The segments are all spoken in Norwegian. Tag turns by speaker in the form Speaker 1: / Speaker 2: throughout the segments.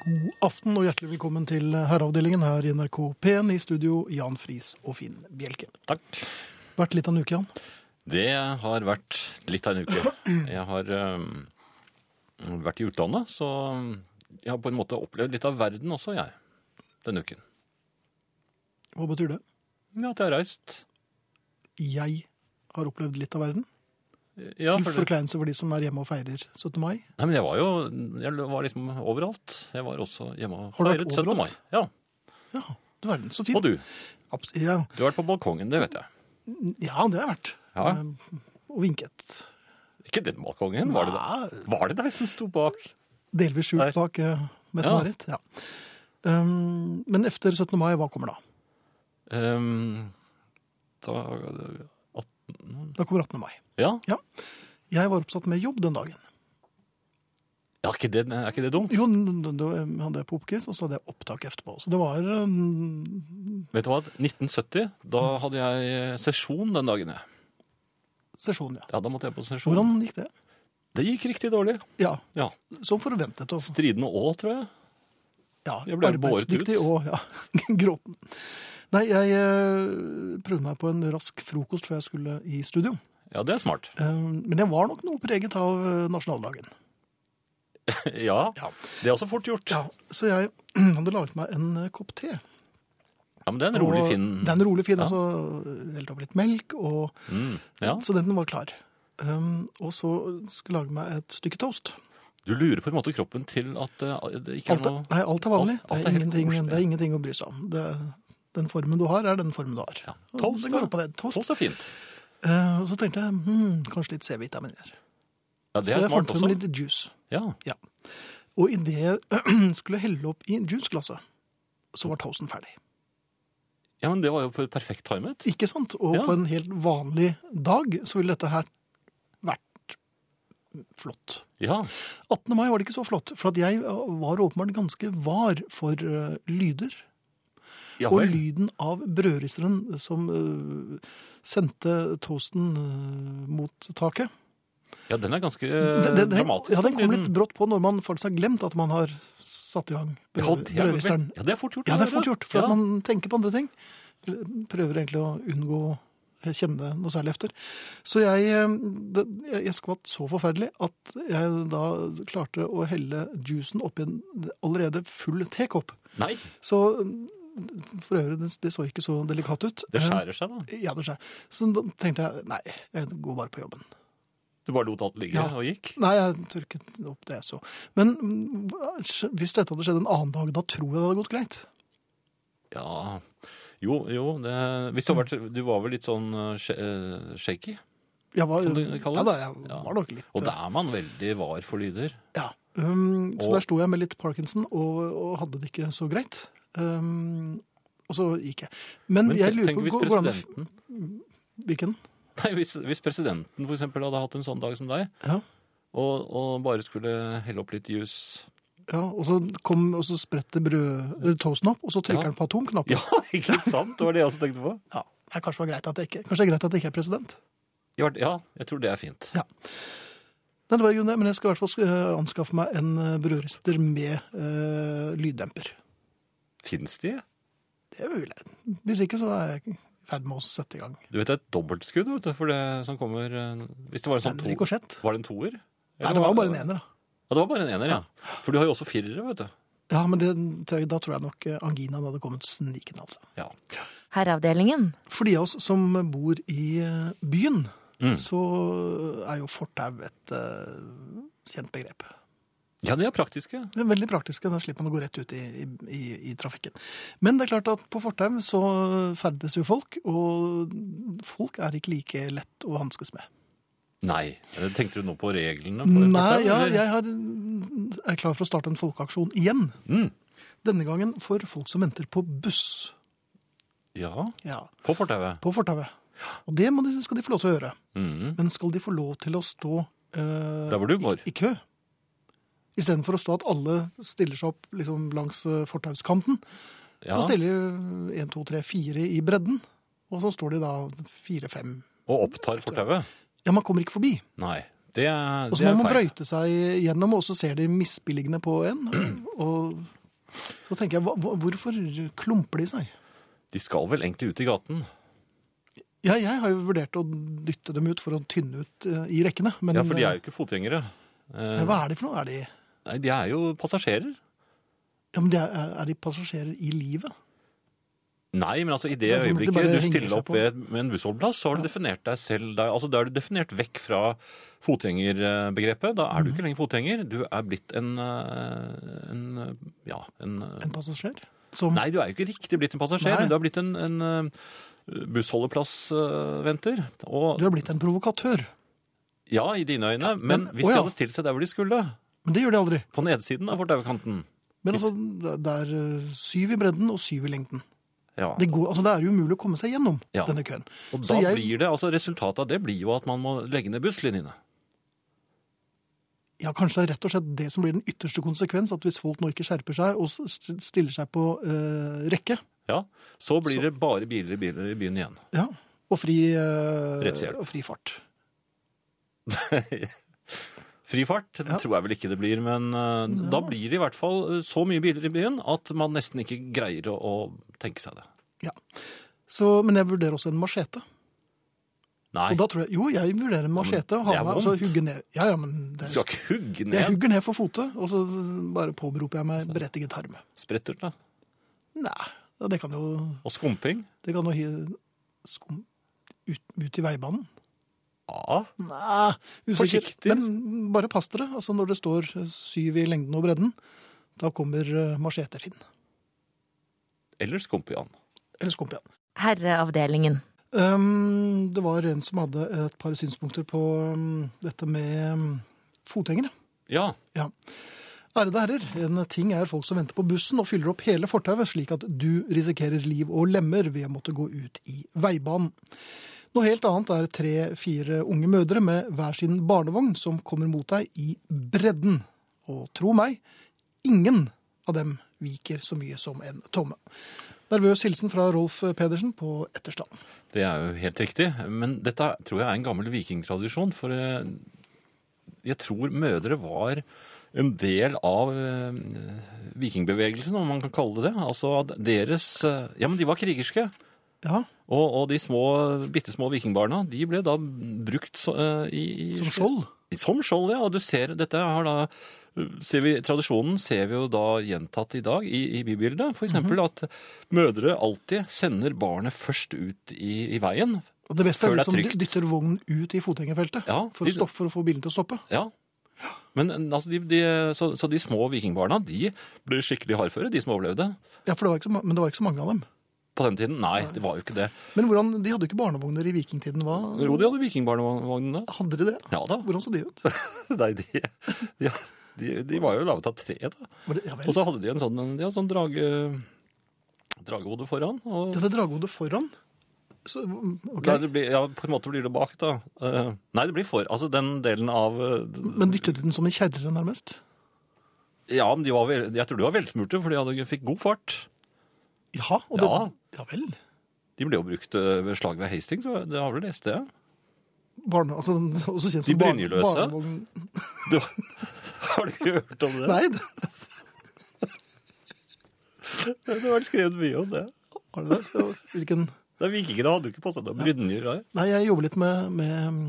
Speaker 1: God aften og hjertelig velkommen til Herreavdelingen her i NRK P1 i studio, Jan Friis og Finn Bjelke.
Speaker 2: Takk.
Speaker 1: Vært litt av en uke, Jan.
Speaker 2: Det har vært litt av en uke. Jeg har øhm, vært i utlandet, så jeg har på en måte opplevd litt av verden også, jeg, denne uken.
Speaker 1: Hva betyr det?
Speaker 2: Ja, at jeg har reist.
Speaker 1: Jeg har opplevd litt av verden.
Speaker 2: Ja,
Speaker 1: Til
Speaker 2: for det.
Speaker 1: forkleinelse for de som er hjemme og feirer 17. mai.
Speaker 2: Mm, Nei, men jeg var jo jeg var liksom overalt. Jeg var også hjemme og
Speaker 1: Har du vært
Speaker 2: feiret 17. mai.
Speaker 1: overalt?
Speaker 2: Ja.
Speaker 1: Ja, du verden, så
Speaker 2: Og
Speaker 1: fint.
Speaker 2: du.
Speaker 1: Abs- Ja,
Speaker 2: Du har vært på balkongen, det vet jeg.
Speaker 1: ja, det har jeg vært.
Speaker 2: Ja.
Speaker 1: Eh, Og vinket.
Speaker 2: Ikke den balkongen. Var det deg,
Speaker 1: Nei,
Speaker 2: var det deg som sto bak?
Speaker 1: Delvis
Speaker 2: Der.
Speaker 1: skjult bak eh, Mette-Marit. Ja. Um, men etter 17. mai, hva kommer da?
Speaker 2: Øhm, Ehm, da, at,
Speaker 1: Da kommer 18. mai.
Speaker 2: ja.
Speaker 1: Jeg var oppsatt med jobb den dagen.
Speaker 2: ja er, ikke det, er ikke det dumt?
Speaker 1: Jo, n- n- da hadde jeg popquiz, og så hadde jeg opptak etterpå. Så det var eh, en
Speaker 2: Vet du hva? 1970, da hadde jeg eh, sesjon den dagen, jeg.
Speaker 1: sesjon, ja.
Speaker 2: Ja, da måtte jeg på sesjon.
Speaker 1: Hvordan gikk det?
Speaker 2: Det gikk riktig dårlig.
Speaker 1: Ja,
Speaker 2: Ja.
Speaker 1: som forventet. Og,
Speaker 2: Stridende Å, tror jeg.
Speaker 1: ja,
Speaker 2: jeg ble båret ut.
Speaker 1: arbeidsdyktig og ja, gråten. Nei, jeg eh, prøvde meg på en rask frokost før jeg skulle i studio.
Speaker 2: Ja, det er smart.
Speaker 1: Eh, Men jeg var nok noe preget av eh, nasjonaldagen.
Speaker 2: Ja,
Speaker 1: Ja.
Speaker 2: det er også fort gjort. Ja,
Speaker 1: Ja, så jeg hadde laget meg en eh, kopp te.
Speaker 2: men det er en rolig
Speaker 1: Og-
Speaker 2: fin...
Speaker 1: Det er en rolig fin,
Speaker 2: Ja.
Speaker 1: og så helte opp litt melk, og,
Speaker 2: Mm, ja.
Speaker 1: så den var klar. Um, og så skulle jeg lage meg et stykke toast.
Speaker 2: Du lurer på en måte kroppen til at eh, det ikke
Speaker 1: Alt
Speaker 2: er
Speaker 1: er,
Speaker 2: noe...
Speaker 1: nei, alt er vanlig. det,
Speaker 2: alt- alt er
Speaker 1: er
Speaker 2: helt
Speaker 1: ingenting,
Speaker 2: koselig.
Speaker 1: det er ingenting å bry seg om. Det, den formen du har, er den formen du har.
Speaker 2: Ja.
Speaker 1: Og
Speaker 2: Toast,
Speaker 1: det
Speaker 2: da.
Speaker 1: går opp på det. Toast.
Speaker 2: Toast er fint.
Speaker 1: Eh, og så tenkte jeg hmm, kanskje litt C-vitaminer.
Speaker 2: Ja, det
Speaker 1: så
Speaker 2: er
Speaker 1: jeg fant
Speaker 2: smart
Speaker 1: frem
Speaker 2: også.
Speaker 1: litt juice.
Speaker 2: Ja.
Speaker 1: Og idet jeg skulle helle opp i juiceglasset, så var toasten ferdig.
Speaker 2: ja, men det var jo perfekt timet.
Speaker 1: Ikke sant? Og
Speaker 2: Ja.
Speaker 1: på en helt vanlig dag så ville dette her vært flott.
Speaker 2: Ja,
Speaker 1: 18. mai var det ikke så flott, for at jeg var åpenbart ganske var for eh, lyder.
Speaker 2: ja
Speaker 1: og
Speaker 2: vel.
Speaker 1: lyden av brødristeren som øh, sendte toasten øh, mot taket.
Speaker 2: Ja, den er ganske
Speaker 1: Den- den- den-
Speaker 2: Eh, dramatisk. Mm.
Speaker 1: Ja, den kom
Speaker 2: lyden.
Speaker 1: litt brått på når man faktisk har glemt at man har satt i gang
Speaker 2: Ja,
Speaker 1: brød-
Speaker 2: det er vel-
Speaker 1: brødristeren.
Speaker 2: Ja, det er fort gjort.
Speaker 1: Ja, det er fort gjort, for
Speaker 2: ja.
Speaker 1: at man tenker på andre ting. Eller Prøver egentlig å unngå å kjenne noe særlig efter. Så jeg, øh, det, jeg, jeg skvatt så forferdelig at jeg da klarte å helle juicen oppi en allerede full tekopp.
Speaker 2: Nei,
Speaker 1: Så øh, for øvrig, det, det så ikke så delikat ut. Eh,
Speaker 2: det skjærer seg da.
Speaker 1: Ja, det skjer. Så da tenkte jeg nei, jeg går bare på jobben.
Speaker 2: Du bare lot alt ligge
Speaker 1: Ja.
Speaker 2: og gikk.
Speaker 1: Nei, jeg tørket opp det jeg så. Men mm, hva- hvis dette hadde skjedd en annen dag, da tror jeg det hadde gått greit.
Speaker 2: Ja, jo, jo det, hvis det har vært, du var vel litt sånn eh, sh- eh, shaky,
Speaker 1: Jeg var,
Speaker 2: som det kalles?
Speaker 1: Ja, da, jeg
Speaker 2: Ja.
Speaker 1: var nok litt
Speaker 2: og da er man veldig var for lyder.
Speaker 1: ja. um, Så
Speaker 2: Og-
Speaker 1: der sto jeg med litt parkinson og, og hadde det ikke så greit. Um, og så gikk jeg. Men,
Speaker 2: Men
Speaker 1: jeg
Speaker 2: te-
Speaker 1: lurer
Speaker 2: tenk
Speaker 1: på
Speaker 2: hvis
Speaker 1: går- går det an å
Speaker 2: presidenten,
Speaker 1: f- Hvilken?
Speaker 2: nei, hvis, hvis presidenten for eksempel hadde hatt en sånn dag som deg,
Speaker 1: Ja.
Speaker 2: og, og bare skulle helle opp litt juice.
Speaker 1: Ja, og så, kom, og så spretter brød, eller toasten opp, og så trykker
Speaker 2: Ja.
Speaker 1: den på atomknappen.
Speaker 2: Ja, ikke sant? Det var det jeg også tenkte på.
Speaker 1: Ja. Nei, Kanskje det var greit at jeg ikke, kanskje det er greit at jeg ikke er president.
Speaker 2: Ja, Ja, jeg tror det er fint.
Speaker 1: Nei, det var i grunnen det, men jeg skal i hvert fall sk- eh, anskaffe meg en eh, brødrister med eh, lyddemper.
Speaker 2: Finnes de?
Speaker 1: Det er mulig. Hvis ikke, så er jeg i ferd med å sette i gang.
Speaker 2: Du vet, det er et dobbeltskudd, vet du, for det som kommer... eh, Hvis det var en sånn
Speaker 1: En
Speaker 2: to...
Speaker 1: rikosjett.
Speaker 2: Var det en toer?
Speaker 1: Nei, det var jo bare en ener, da.
Speaker 2: Ja, det var bare en ener, ja. For du har jo også firere, vet du.
Speaker 1: Ja, men det, tør- da tror jeg nok eh, anginaen hadde kommet snikende, altså.
Speaker 2: Ja.
Speaker 3: Herreavdelingen.
Speaker 1: For de av oss som bor i eh, byen,
Speaker 2: Mm.
Speaker 1: så eh, er jo fortau et eh, kjent begrep.
Speaker 2: Ja, de er praktiske.
Speaker 1: Det er veldig praktiske, da slipper man å gå rett ut i, i, i- i trafikken. Men det er klart at på Fortau så ferdes jo folk, og folk er ikke like lett å hanskes med.
Speaker 2: Nei. Tenkte du nå på reglene? For
Speaker 1: Nei,
Speaker 2: fortau,
Speaker 1: ja,
Speaker 2: eller?
Speaker 1: jeg har, er klar for å starte en folkeaksjon igjen.
Speaker 2: Mm.
Speaker 1: Denne gangen for folk som venter på buss
Speaker 2: Ja,
Speaker 1: ja,
Speaker 2: på fortauet.
Speaker 1: på fortauet. Og det må de, skal de få lov til å gjøre.
Speaker 2: Mhm.
Speaker 1: Men skal de få lov til å stå eh,
Speaker 2: Der hvor du går.
Speaker 1: i kø? Istedenfor å stå at alle stiller seg opp liksom, langs eh, fortauskanten,
Speaker 2: Ja.
Speaker 1: så stiller de 1, 2, 3, 4 i bredden. Og så står de da 4-5.
Speaker 2: Og opptar fortauet.
Speaker 1: Ja, man kommer ikke forbi.
Speaker 2: Nei, det, er-
Speaker 1: Og så må
Speaker 2: det er
Speaker 1: man
Speaker 2: feil.
Speaker 1: brøyte seg gjennom, og så ser de misbilligende på en. Og Så tenker jeg, hva- hva- hvorfor klumper de seg?
Speaker 2: De skal vel egentlig ut i gaten?
Speaker 1: Ja, jeg har jo vurdert å dytte dem ut for å tynne ut eh, i rekkene. Men
Speaker 2: Ja, for de er jo ikke fotgjengere.
Speaker 1: eh,
Speaker 2: Eh,
Speaker 1: hva er det for noe? Er de,
Speaker 2: Nei, de er jo passasjerer.
Speaker 1: ja, men de er, er de passasjerer i livet?
Speaker 2: Nei, men altså i
Speaker 1: Det
Speaker 2: det
Speaker 1: er sånn at de
Speaker 2: øyeblikket
Speaker 1: bare
Speaker 2: du
Speaker 1: henger
Speaker 2: stiller
Speaker 1: seg
Speaker 2: opp
Speaker 1: på.
Speaker 2: ved, med en bussholdeplass, så har du definert deg selv da- altså Da er du definert vekk fra fotgjengerbegrepet. Da
Speaker 1: Mm.
Speaker 2: er du ikke lenger fotgjenger. Du er blitt en, eh, en Ja, en eh,
Speaker 1: En passasjer? Som,
Speaker 2: Nei, du er jo ikke riktig blitt en passasjer,
Speaker 1: Nei.
Speaker 2: men du er blitt en, en eh, bussholdeplassventer. Og
Speaker 1: Du har blitt en provokatør.
Speaker 2: ja, i dine øyne, men
Speaker 1: men-
Speaker 2: hvis
Speaker 1: å
Speaker 2: de
Speaker 1: ja.
Speaker 2: hadde stilt seg der hvor de skulle,
Speaker 1: Men det gjør de aldri.
Speaker 2: på nedsiden av fortaukanten
Speaker 1: Men
Speaker 2: Hvis-
Speaker 1: altså, det- det er eh, syv i bredden og syv i lengden.
Speaker 2: ja.
Speaker 1: Det, går, altså, det er jo umulig å komme seg gjennom
Speaker 2: Ja.
Speaker 1: denne køen.
Speaker 2: Og
Speaker 1: Så
Speaker 2: da
Speaker 1: jeg-
Speaker 2: blir det, altså resultatet av det blir jo at man må legge ned busslinjene.
Speaker 1: Ja, Kanskje det er rett og slett det som blir den ytterste konsekvens, at hvis folk nå ikke skjerper seg og s- st- stiller seg på eh, rekke
Speaker 2: Ja, Så blir det bare biler i biler i byen igjen.
Speaker 1: ja, og, fri, eh,
Speaker 2: Rettshjelp.
Speaker 1: og fri fart
Speaker 2: Fri fart det
Speaker 1: Ja.
Speaker 2: tror jeg vel ikke det blir, men eh, da blir det i hvert fall eh, så mye biler i byen at man nesten ikke greier å, å tenke seg det.
Speaker 1: ja. så, Men jeg vurderer også en machete.
Speaker 2: Nei,
Speaker 1: Og da tror jeg, jo, jeg vurderer en machete. og
Speaker 2: det er
Speaker 1: har meg- altså,
Speaker 2: vondt.
Speaker 1: hugge ned. Ja, ja, men
Speaker 2: du
Speaker 1: det,
Speaker 2: skal ikke hugge
Speaker 1: jeg
Speaker 2: ned
Speaker 1: hugger ned for fote, og så bare påberoper jeg meg berettiget harme.
Speaker 2: sprettertene
Speaker 1: Nei, ja, det kan jo,
Speaker 2: og skumping.
Speaker 1: det kan jo hi, skum, ut, ut i veibanen.
Speaker 2: Ja,
Speaker 1: Nei, usikker.
Speaker 2: Forsiktig.
Speaker 1: Men bare pass dere. Altså, når det står syv i lengden og bredden, da kommer eh, machete-Finn.
Speaker 2: eller skumpian.
Speaker 1: Eller Skumpian.
Speaker 3: Herreavdelingen.
Speaker 1: Um, det var en som hadde et par synspunkter på um, dette med um, fotgjengere.
Speaker 2: Ja,
Speaker 1: Ja. Ærede herrer, en ting er folk som venter på bussen og fyller opp hele fortauet, slik at du risikerer liv og lemmer ved å måtte gå ut i veibanen. Noe helt annet er tre-fire unge mødre med hver sin barnevogn som kommer mot deg i bredden. Og tro meg, ingen av dem viker så mye som en tomme. Nervøs hilsen fra Rolf Pedersen på Etterstad.
Speaker 2: det er jo helt riktig. Men dette tror jeg er en gammel vikingtradisjon, for eh, jeg tror mødre var en del av eh, vikingbevegelsen, om man kan kalle det det. Altså at deres eh, Ja, men de var krigerske.
Speaker 1: Ja,
Speaker 2: Og, og de små, bitte små vikingbarna de ble da brukt så, eh, i, i
Speaker 1: som skjold.
Speaker 2: Som skjold, ja. Og du ser, dette har da, ser vi, tradisjonen ser vi jo da gjentatt i dag i, i bybildet. For eksempel
Speaker 1: Mhm.
Speaker 2: at mødre alltid sender barnet først ut i, i veien.
Speaker 1: Og det beste
Speaker 2: Før
Speaker 1: er
Speaker 2: det
Speaker 1: de
Speaker 2: er
Speaker 1: som
Speaker 2: trygt.
Speaker 1: dytter vognen ut i fotgjengerfeltet
Speaker 2: Ja,
Speaker 1: for,
Speaker 2: de-
Speaker 1: å stoppe- for å få bilen til å stoppe.
Speaker 2: Ja. Men altså, de, de, så, så de små vikingbarna de ble skikkelig hardføre, de som overlevde.
Speaker 1: Ja, for det var ikke så, ma- Men det var ikke så mange av dem.
Speaker 2: På den tiden? Nei, det var jo ikke det.
Speaker 1: Men hvordan, de hadde jo ikke barnevogner i vikingtiden, hva?
Speaker 2: Jo, de hadde vikingbarnevognene.
Speaker 1: Hadde de det?
Speaker 2: Ja da.
Speaker 1: Hvordan så de ut?
Speaker 2: Nei, de, de, de, de var jo laget av tre, da.
Speaker 1: Var det, ja
Speaker 2: Og
Speaker 1: vel.
Speaker 2: så hadde de en sånn, de hadde sånn drage, dragehode foran. Og
Speaker 1: Dette dragehodet foran så, ok.
Speaker 2: Nei, det blir, ja, på en måte blir det bak, da. Eh, nei, det blir for. Altså den delen av eh,
Speaker 1: Men dyttet de den som en kjerre, nærmest?
Speaker 2: Ja, men de var vel, jeg tror de var velsmurte, for de hadde, fikk god fart.
Speaker 1: Ja, og det,
Speaker 2: Ja.
Speaker 1: ja vel.
Speaker 2: De ble jo brukt eh, ved slag ved Hastings, tror jeg. det har vel lest det?
Speaker 1: Barne, altså, den- også kjent
Speaker 2: De
Speaker 1: som barn-
Speaker 2: brynjeløse?
Speaker 1: barnevogn-
Speaker 2: det var, har du ikke hørt om det?
Speaker 1: Nei, det,
Speaker 2: Det har vært skrevet mye om det.
Speaker 1: var det det? Hvilken?
Speaker 2: Det er Vikingene hadde jo ikke på seg noen brynjer. nei.
Speaker 1: Nei, jeg jobber litt med, med mm,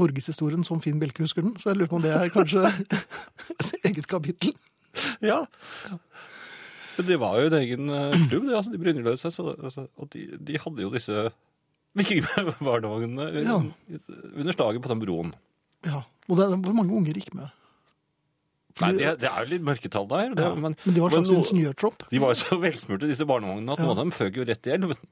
Speaker 1: norgeshistorien som Finn Bjelke husker den, så jeg lurer på om det er kanskje et eget kapittel.
Speaker 2: Ja. Men det var jo en egen eh, klubb, det, altså, de brynjeløse. Så, altså, og de, de hadde jo disse vikingbarnevognene
Speaker 1: Ja.
Speaker 2: under slaget på den broen.
Speaker 1: Ja, og det er, Hvor mange unger gikk med?
Speaker 2: Nei,
Speaker 1: Fordi-
Speaker 2: det, er- det er jo litt mørketall der. Det,
Speaker 1: Ja, men, de var en slags
Speaker 2: no-
Speaker 1: ingeniørtropp.
Speaker 2: de var jo så velsmurte, disse barnevognene, at
Speaker 1: Ja.
Speaker 2: noen av dem føk jo rett i elven.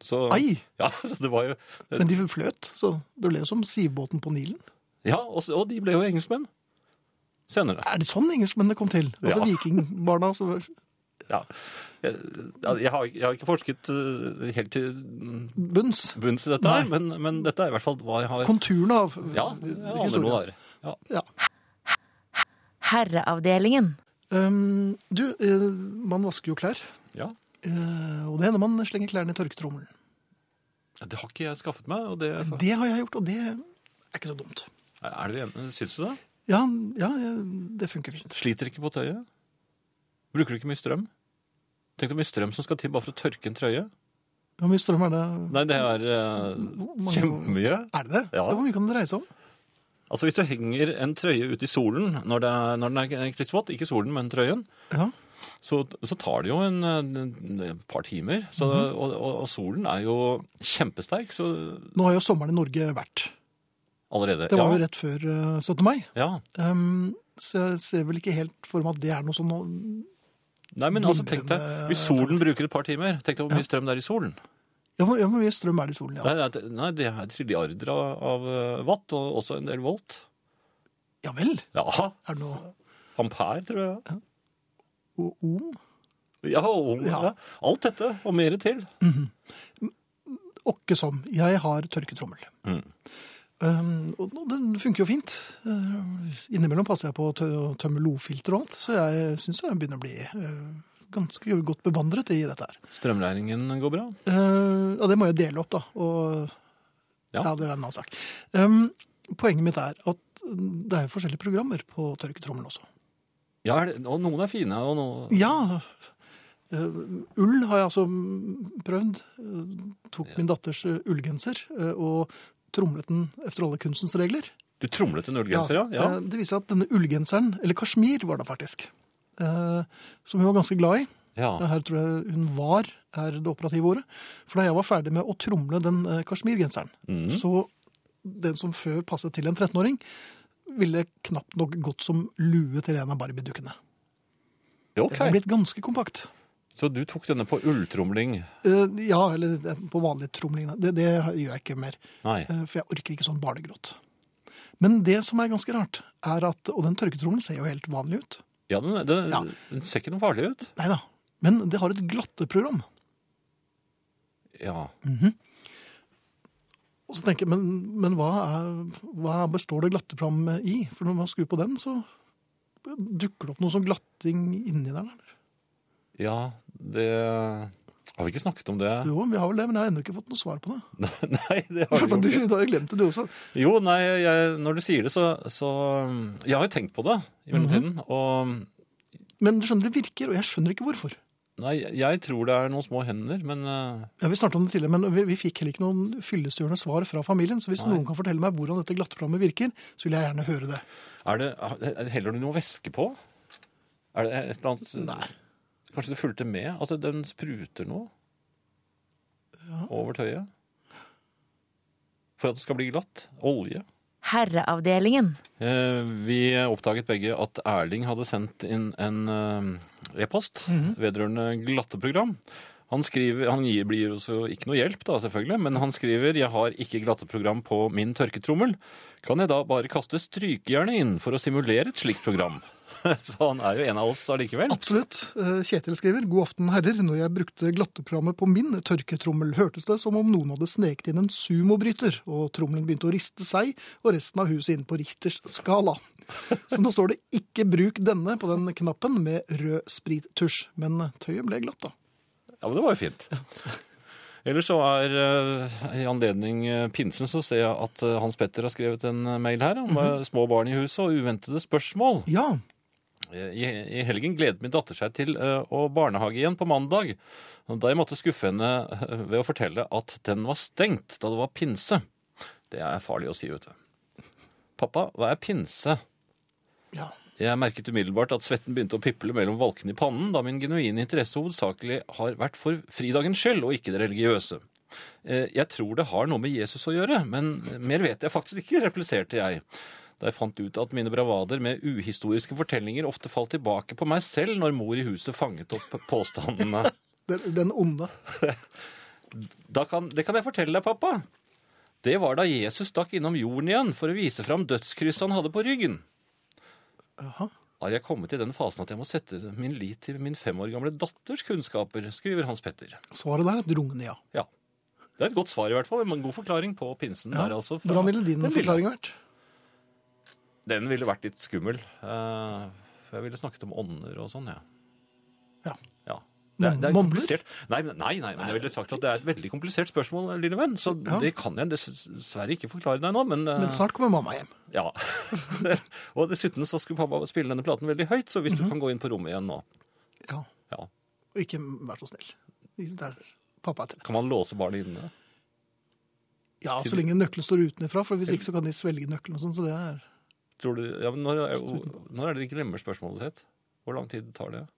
Speaker 2: Så,
Speaker 1: Ai!
Speaker 2: Ja, så det var jo,
Speaker 1: Men de fløt, så det ble jo som sivbåten på Nilen.
Speaker 2: ja og, så- og de ble jo engelskmenn senere.
Speaker 1: Er det sånn engelskmennene kom til? Altså
Speaker 2: Ja.
Speaker 1: vikingbarna altså, som var-
Speaker 2: Ja. Jeg, ja, jeg, har, jeg har ikke forsket eh, helt til
Speaker 1: bunns.
Speaker 2: bunns i dette, her, men, men dette er i hvert fall hva jeg har
Speaker 1: Konturene av
Speaker 2: Ja, jeg aner noe der. Ja.
Speaker 1: Ja.
Speaker 3: Herreavdelingen.
Speaker 1: Um, du, eh, man vasker jo klær,
Speaker 2: Ja.
Speaker 1: eh, og det hender man slenger klærne i tørketrommelen.
Speaker 2: Det har ikke jeg skaffet meg. og det,
Speaker 1: Det har jeg gjort, og det er ikke så dumt.
Speaker 2: er det en- Syns du det?
Speaker 1: Ja, ja jeg- det funker fint.
Speaker 2: Sliter ikke på tøyet? Bruker du ikke mye strøm? Tenk hvor mye strøm som skal til bare for å tørke en trøye.
Speaker 1: Hvor mye strøm er det?
Speaker 2: Nei, det er eh,
Speaker 1: mange-
Speaker 2: kjempemye.
Speaker 1: Er det det?
Speaker 2: Ja.
Speaker 1: Hvor mye kan det dreie seg om?
Speaker 2: Altså Hvis du henger en trøye ut i solen når, det er, når den er krigsvåt, ikke solen, men trøyen,
Speaker 1: Ja.
Speaker 2: så, så tar det jo en, eh, en, et par timer. Så,
Speaker 1: Mhm.
Speaker 2: og, og, og solen er jo kjempesterk så
Speaker 1: Nå har jo sommeren i Norge vært.
Speaker 2: allerede.
Speaker 1: Det var
Speaker 2: ja,
Speaker 1: jo rett før eh, 17. mai.
Speaker 2: Ja.
Speaker 1: Ehm, så jeg ser vel ikke helt for meg at det er noe sånn
Speaker 2: Nei, men altså, tenk deg,
Speaker 1: Glimrende
Speaker 2: Hvis solen bruker et par timer, tenk deg hvor mye strøm det er i solen.
Speaker 1: Ja, hvor ja, hvor mye strøm er det i solen? Ja,
Speaker 2: Nei, det er- nei, det er trilliarder av, av eh, watt, og også en del volt.
Speaker 1: ja vel?
Speaker 2: Ja,
Speaker 1: Er det noe
Speaker 2: ampere, tror jeg.
Speaker 1: o- ohm?
Speaker 2: Ja, og,
Speaker 1: Ja.
Speaker 2: ja. Alt dette, og mer til.
Speaker 1: Åkke som. Jeg har tørketrommel.
Speaker 2: Mm.
Speaker 1: Ehm, og nå- den funker jo fint. Ehm, innimellom passer jeg på å tø tømme lofilter og alt, så jeg syns jeg begynner å bli eh, ganske godt bevandret i dette her.
Speaker 2: Strømregningen går bra.
Speaker 1: Eh, ja, det må jeg dele opp, da. Og, ja.
Speaker 2: Ja.
Speaker 1: det er en annen sak. Ehm, poenget mitt er at det er jo forskjellige programmer på tørketrommelen også.
Speaker 2: Ja, er det- og noen er fine, og noen
Speaker 1: Ja. eh, ull har jeg altså mm, prøvd. Eh, tok min datters eh, ullgenser eh, og tromlet den etter alle kunstens regler.
Speaker 2: Du tromlet en ullgenser, ja? ja.
Speaker 1: eh, Det viser seg at denne ullgenseren, eller kasjmir var det faktisk, eh, som hun var ganske glad i.
Speaker 2: ja.
Speaker 1: Her tror jeg hun var, er det operative ordet. For da jeg var ferdig med å tromle den eh, kasjmirgenseren,
Speaker 2: Mhm.
Speaker 1: så den som før passet til en 13-åring, ville knapt nok gått som lue til en av Barbie-dukkene.
Speaker 2: Ja,
Speaker 1: Den har
Speaker 2: Ok.
Speaker 1: blitt ganske kompakt.
Speaker 2: Så du tok denne på ulltromling?
Speaker 1: Eh, Ja, eller eh, på vanlig tromling. da. Det, det gjør jeg ikke mer,
Speaker 2: Nei.
Speaker 1: eh, for jeg orker ikke sånn barnegråt. Men det som er ganske rart, er at Og den tørketrommelen ser jo helt vanlig ut.
Speaker 2: Ja, den, den,
Speaker 1: Ja.
Speaker 2: den ser ikke noe farlig ut.
Speaker 1: Nei da. Men det har et glatteprogram.
Speaker 2: Ja.
Speaker 1: Og så tenker jeg, Men, men hva, er, hva består det glatteprogrammet i? For når man skrur på den, så dukker det opp noe sånn glatting inni der. eller?
Speaker 2: Ja, det Har vi ikke snakket om det?
Speaker 1: Jo, vi har vel det, men jeg har ennå ikke fått noe svar på det.
Speaker 2: Nei, det har
Speaker 1: For
Speaker 2: vi
Speaker 1: du,
Speaker 2: ikke.
Speaker 1: du har jo glemt det, du også.
Speaker 2: Jo, nei, jeg, når du sier det, så, så Jeg har jo tenkt på det i mellomtiden. Og
Speaker 1: Men du skjønner, det virker, og jeg skjønner ikke hvorfor.
Speaker 2: Nei, jeg tror det er noen små hender, men eh,
Speaker 1: Ja, Vi snakket om det tidligere, men vi, vi fikk heller ikke noen fyllestgjørende svar fra familien. Så hvis
Speaker 2: Nei.
Speaker 1: noen kan fortelle meg hvordan dette glatteprogrammet virker, så vil jeg gjerne høre det.
Speaker 2: er det, eh, heller du noe væske på? Er det et eller annet Kanskje det fulgte med? Altså, den spruter noe over tøyet? For at det skal bli glatt? Olje?
Speaker 3: Herreavdelingen.
Speaker 2: Eh, Vi oppdaget begge at Erling hadde sendt inn en eh, e-post vedrørende glatteprogram. Han, skriver, han gir, blir oss jo ikke noe hjelp, da, selvfølgelig, men han skriver «Jeg har ikke glatteprogram på min tørketrommel. Kan jeg da bare kaste strykejernet inn for å simulere et slikt program?» Så han er jo en av oss allikevel.
Speaker 1: Absolutt. Eh, Kjetil skriver God aften, herrer. Når jeg brukte glatteprogrammet på min tørketrommel, hørtes det som om noen hadde sneket inn en sumobryter, og trommelen begynte å riste seg og resten av huset inn på Richters skala. Så nå står det 'ikke bruk denne' på den knappen med rød sprittusj. Men eh, tøyet ble glatt, da.
Speaker 2: Ja, men det var jo fint. Ellers så er eh, i anledning eh, pinsen så ser jeg at eh, Hans Petter har skrevet en eh, mail her om eh, små barn i huset og uventede spørsmål.
Speaker 1: Ja.
Speaker 2: I, I helgen gledet min datter seg til eh, å barnehage igjen på mandag, da jeg måtte skuffe henne eh, ved å fortelle at den var stengt da det var pinse. Det er farlig å si, vet du. Pappa, hva er pinse?
Speaker 1: ja.
Speaker 2: Jeg merket umiddelbart at svetten begynte å piple mellom valkene i pannen, da min genuine interesse hovedsakelig har vært for fridagens skyld, og ikke det religiøse. Eh, Jeg tror det har noe med Jesus å gjøre, men mer vet jeg faktisk ikke, repliserte jeg. Da jeg fant ut at mine bravader med uhistoriske fortellinger ofte falt tilbake på meg selv når mor i huset fanget opp påstandene.
Speaker 1: Den, den onde.
Speaker 2: Da kan, det kan jeg fortelle deg, pappa. Det var da Jesus stakk innom jorden igjen for å vise fram dødskrysset han hadde på ryggen.
Speaker 1: Jaha.
Speaker 2: har jeg kommet i den fasen at jeg må sette min lit til min fem år gamle datters kunnskaper, skriver Hans Petter.
Speaker 1: Svaret der er et rungende ja.
Speaker 2: Ja. Det er et godt svar i hvert fall, men en god forklaring på pinsen der altså. fra-
Speaker 1: Hvordan ville din
Speaker 2: den
Speaker 1: forklaring vært?
Speaker 2: Den ville vært litt skummel. eh, for jeg ville snakket om ånder og sånn, ja.
Speaker 1: Ja.
Speaker 2: ja. Det er, det
Speaker 1: Ånder?
Speaker 2: er komplisert. Nei, men- nei, nei, men jeg ville sagt at det er et veldig komplisert spørsmål, lille venn. Så
Speaker 1: Ja.
Speaker 2: det kan jeg dessverre ikke forklare deg nå, men, eh,
Speaker 1: Men snart kommer mamma hjem.
Speaker 2: Ja. og
Speaker 1: Mhm.
Speaker 2: dessuten så skulle pappa spille denne platen veldig høyt, så hvis du kan gå inn på rommet igjen nå.
Speaker 1: Ja.
Speaker 2: Ja.
Speaker 1: I- Ikke vær så snill. Der, pappa er trett.
Speaker 2: Kan man låse barnet inne?
Speaker 1: Ja, så lenge nøkkelen står utenfra, for hvis ikke så kan de svelge nøkkelen og sånn. Så det er
Speaker 2: Tror du, ja, men når, er- når er det de glemmer spørsmålet sitt? Hvor lang tid tar det?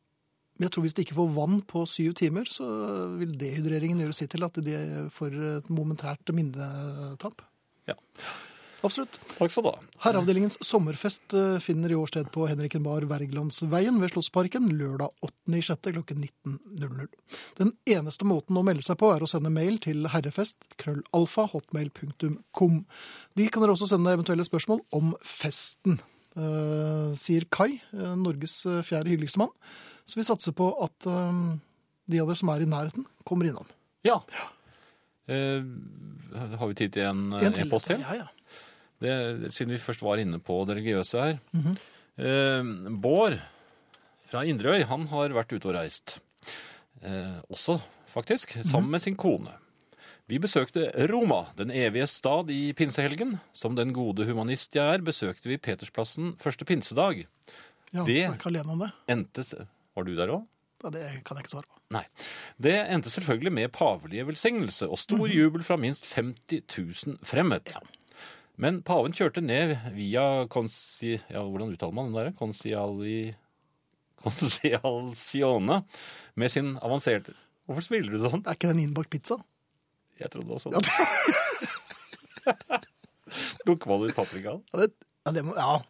Speaker 1: Men jeg tror hvis de ikke får vann på syv timer, så vil dehydreringen gjøre sitt til at de får et momentært minnetap.
Speaker 2: Ja.
Speaker 1: Absolutt.
Speaker 2: Takk skal du ha.
Speaker 1: Herreavdelingens sommerfest eh, finner i årsted på Henriken Bar Wergelandsveien ved Slottsparken lørdag 8.6. klokken 19.00. Den eneste måten å melde seg på er å sende mail til herrefest krøllalfa hotmail.com. De kan dere også sende eventuelle spørsmål om festen, eh, sier Kai, eh, Norges eh, fjerde hyggeligste mann. Så vi satser på at eh, de av dere som er i nærheten, kommer innom.
Speaker 2: Ja. Eh, har vi tid til en eh, e-post til?
Speaker 1: Ja, ja.
Speaker 2: Det, siden vi først var inne på det religiøse her. eh, Bård fra Inderøy, han har vært ute og reist. Eh, også, faktisk, sammen med sin kone. Vi besøkte Roma, den evige stad i pinsehelgen. Som den gode humanist jeg er, besøkte vi Petersplassen første pinsedag.
Speaker 1: ja
Speaker 2: Det-
Speaker 1: Jeg er ikke alene om det.
Speaker 2: Endte se- Var du der òg?
Speaker 1: Ja, Det kan jeg ikke svare på.
Speaker 2: Nei. Det endte selvfølgelig med pavelige velsignelse og stor jubel fra minst 50 000 fremmed. Men paven kjørte ned via konsi... Ja, hvordan uttaler man den derre? Konsiali... Konsialcione med sin avanserte Hvorfor smiler du sånn?
Speaker 1: Er ikke det en innbakt pizza?
Speaker 2: Jeg trodde også det. sånn. Lukker man ut paprikaen?
Speaker 1: Ja, det, ja, det, må, ja,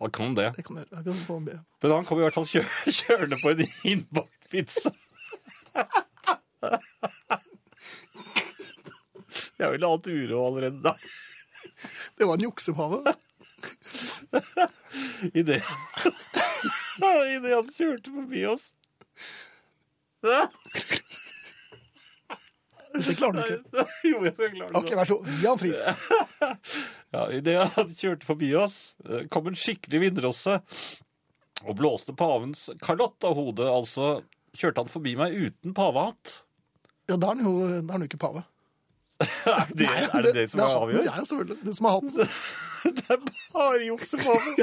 Speaker 2: Hva kan det?
Speaker 1: det kan du gjøre. Jeg kan få be.
Speaker 2: Men han kom i hvert fall kjø- kjørende på en innbakt pizza. Jeg ville hatt uro allerede da.
Speaker 1: Det var en juksepave.
Speaker 2: I det, I det han kjørte forbi oss.
Speaker 1: Det klarer du ikke.
Speaker 2: Jo, jeg skal klare det.
Speaker 1: Ok, vær så god. Jan Friis.
Speaker 2: Ja, Idet han kjørte forbi oss, eh, kom en skikkelig vindrosse og blåste pavens kalott av hodet. Altså kjørte han forbi meg uten pavehatt.
Speaker 1: Ja, da er han jo, da er han jo ikke pave.
Speaker 2: Er det er det, det som
Speaker 1: er
Speaker 2: er
Speaker 1: hatten.
Speaker 2: avgjørende?
Speaker 1: Ja, selvfølgelig. Det som er hatten.
Speaker 2: Det er bare juks og paven.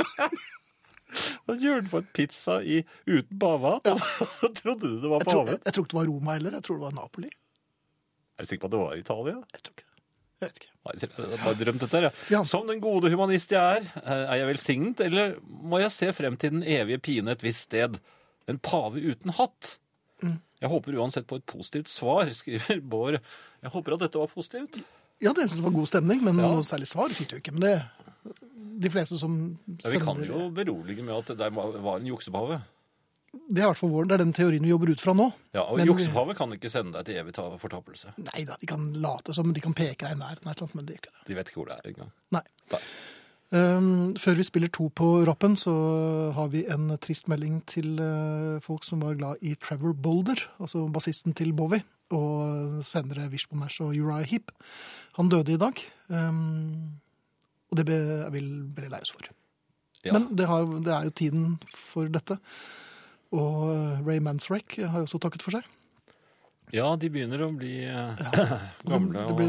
Speaker 2: Han kjørte på en pizza i, uten pavehatt, og så trodde du det var
Speaker 1: Jeg tror, jeg,
Speaker 2: paven.
Speaker 1: jeg tror ikke det var Roma heller. Jeg tror det var Napoli.
Speaker 2: Er du sikker på at det var Italia?
Speaker 1: Jeg tror ikke. Jeg vet ikke.
Speaker 2: Nei, jeg har bare drømt dette her, ja.
Speaker 1: Ja.
Speaker 2: Som den gode humanist jeg er, eh, er jeg velsignet, eller må jeg se frem til den evige pine et visst sted? En pave uten hatt? Jeg håper uansett på et positivt svar, skriver Bård. Jeg håper at dette var positivt.
Speaker 1: Ja, det synes jeg var god stemning, men
Speaker 2: Ja.
Speaker 1: noe særlig svar fikk du ikke. Men det de fleste som
Speaker 2: Ja, vi kan jo berolige med at det der var en juksepave.
Speaker 1: Det er i hvert fall vår. Det er den teorien vi jobber ut fra nå.
Speaker 2: Ja, og
Speaker 1: Men-
Speaker 2: juksepave kan ikke sende deg til evig ta- fortapelse.
Speaker 1: Nei da, de kan late som, de kan peke deg i nærheten, av et eller annet, men det gjør ikke det.
Speaker 2: De vet ikke hvor det er engang.
Speaker 1: Nei.
Speaker 2: Nei.
Speaker 1: Um, før vi spiller to på rappen, så har vi en trist melding til eh, folk som var glad i Trevor Boulder, altså bassisten til Bowie, og senere Wishbone Nash og Uriah Heep. Han døde i dag, um, og det ble jeg vel veldig lei oss for.
Speaker 2: Ja.
Speaker 1: Men det, har, det er jo tiden for dette. Og eh, Ray Mansrek har jo også takket for seg.
Speaker 2: ja, de begynner å bli eh,
Speaker 1: Og
Speaker 2: gamle.
Speaker 1: de, de
Speaker 2: Og...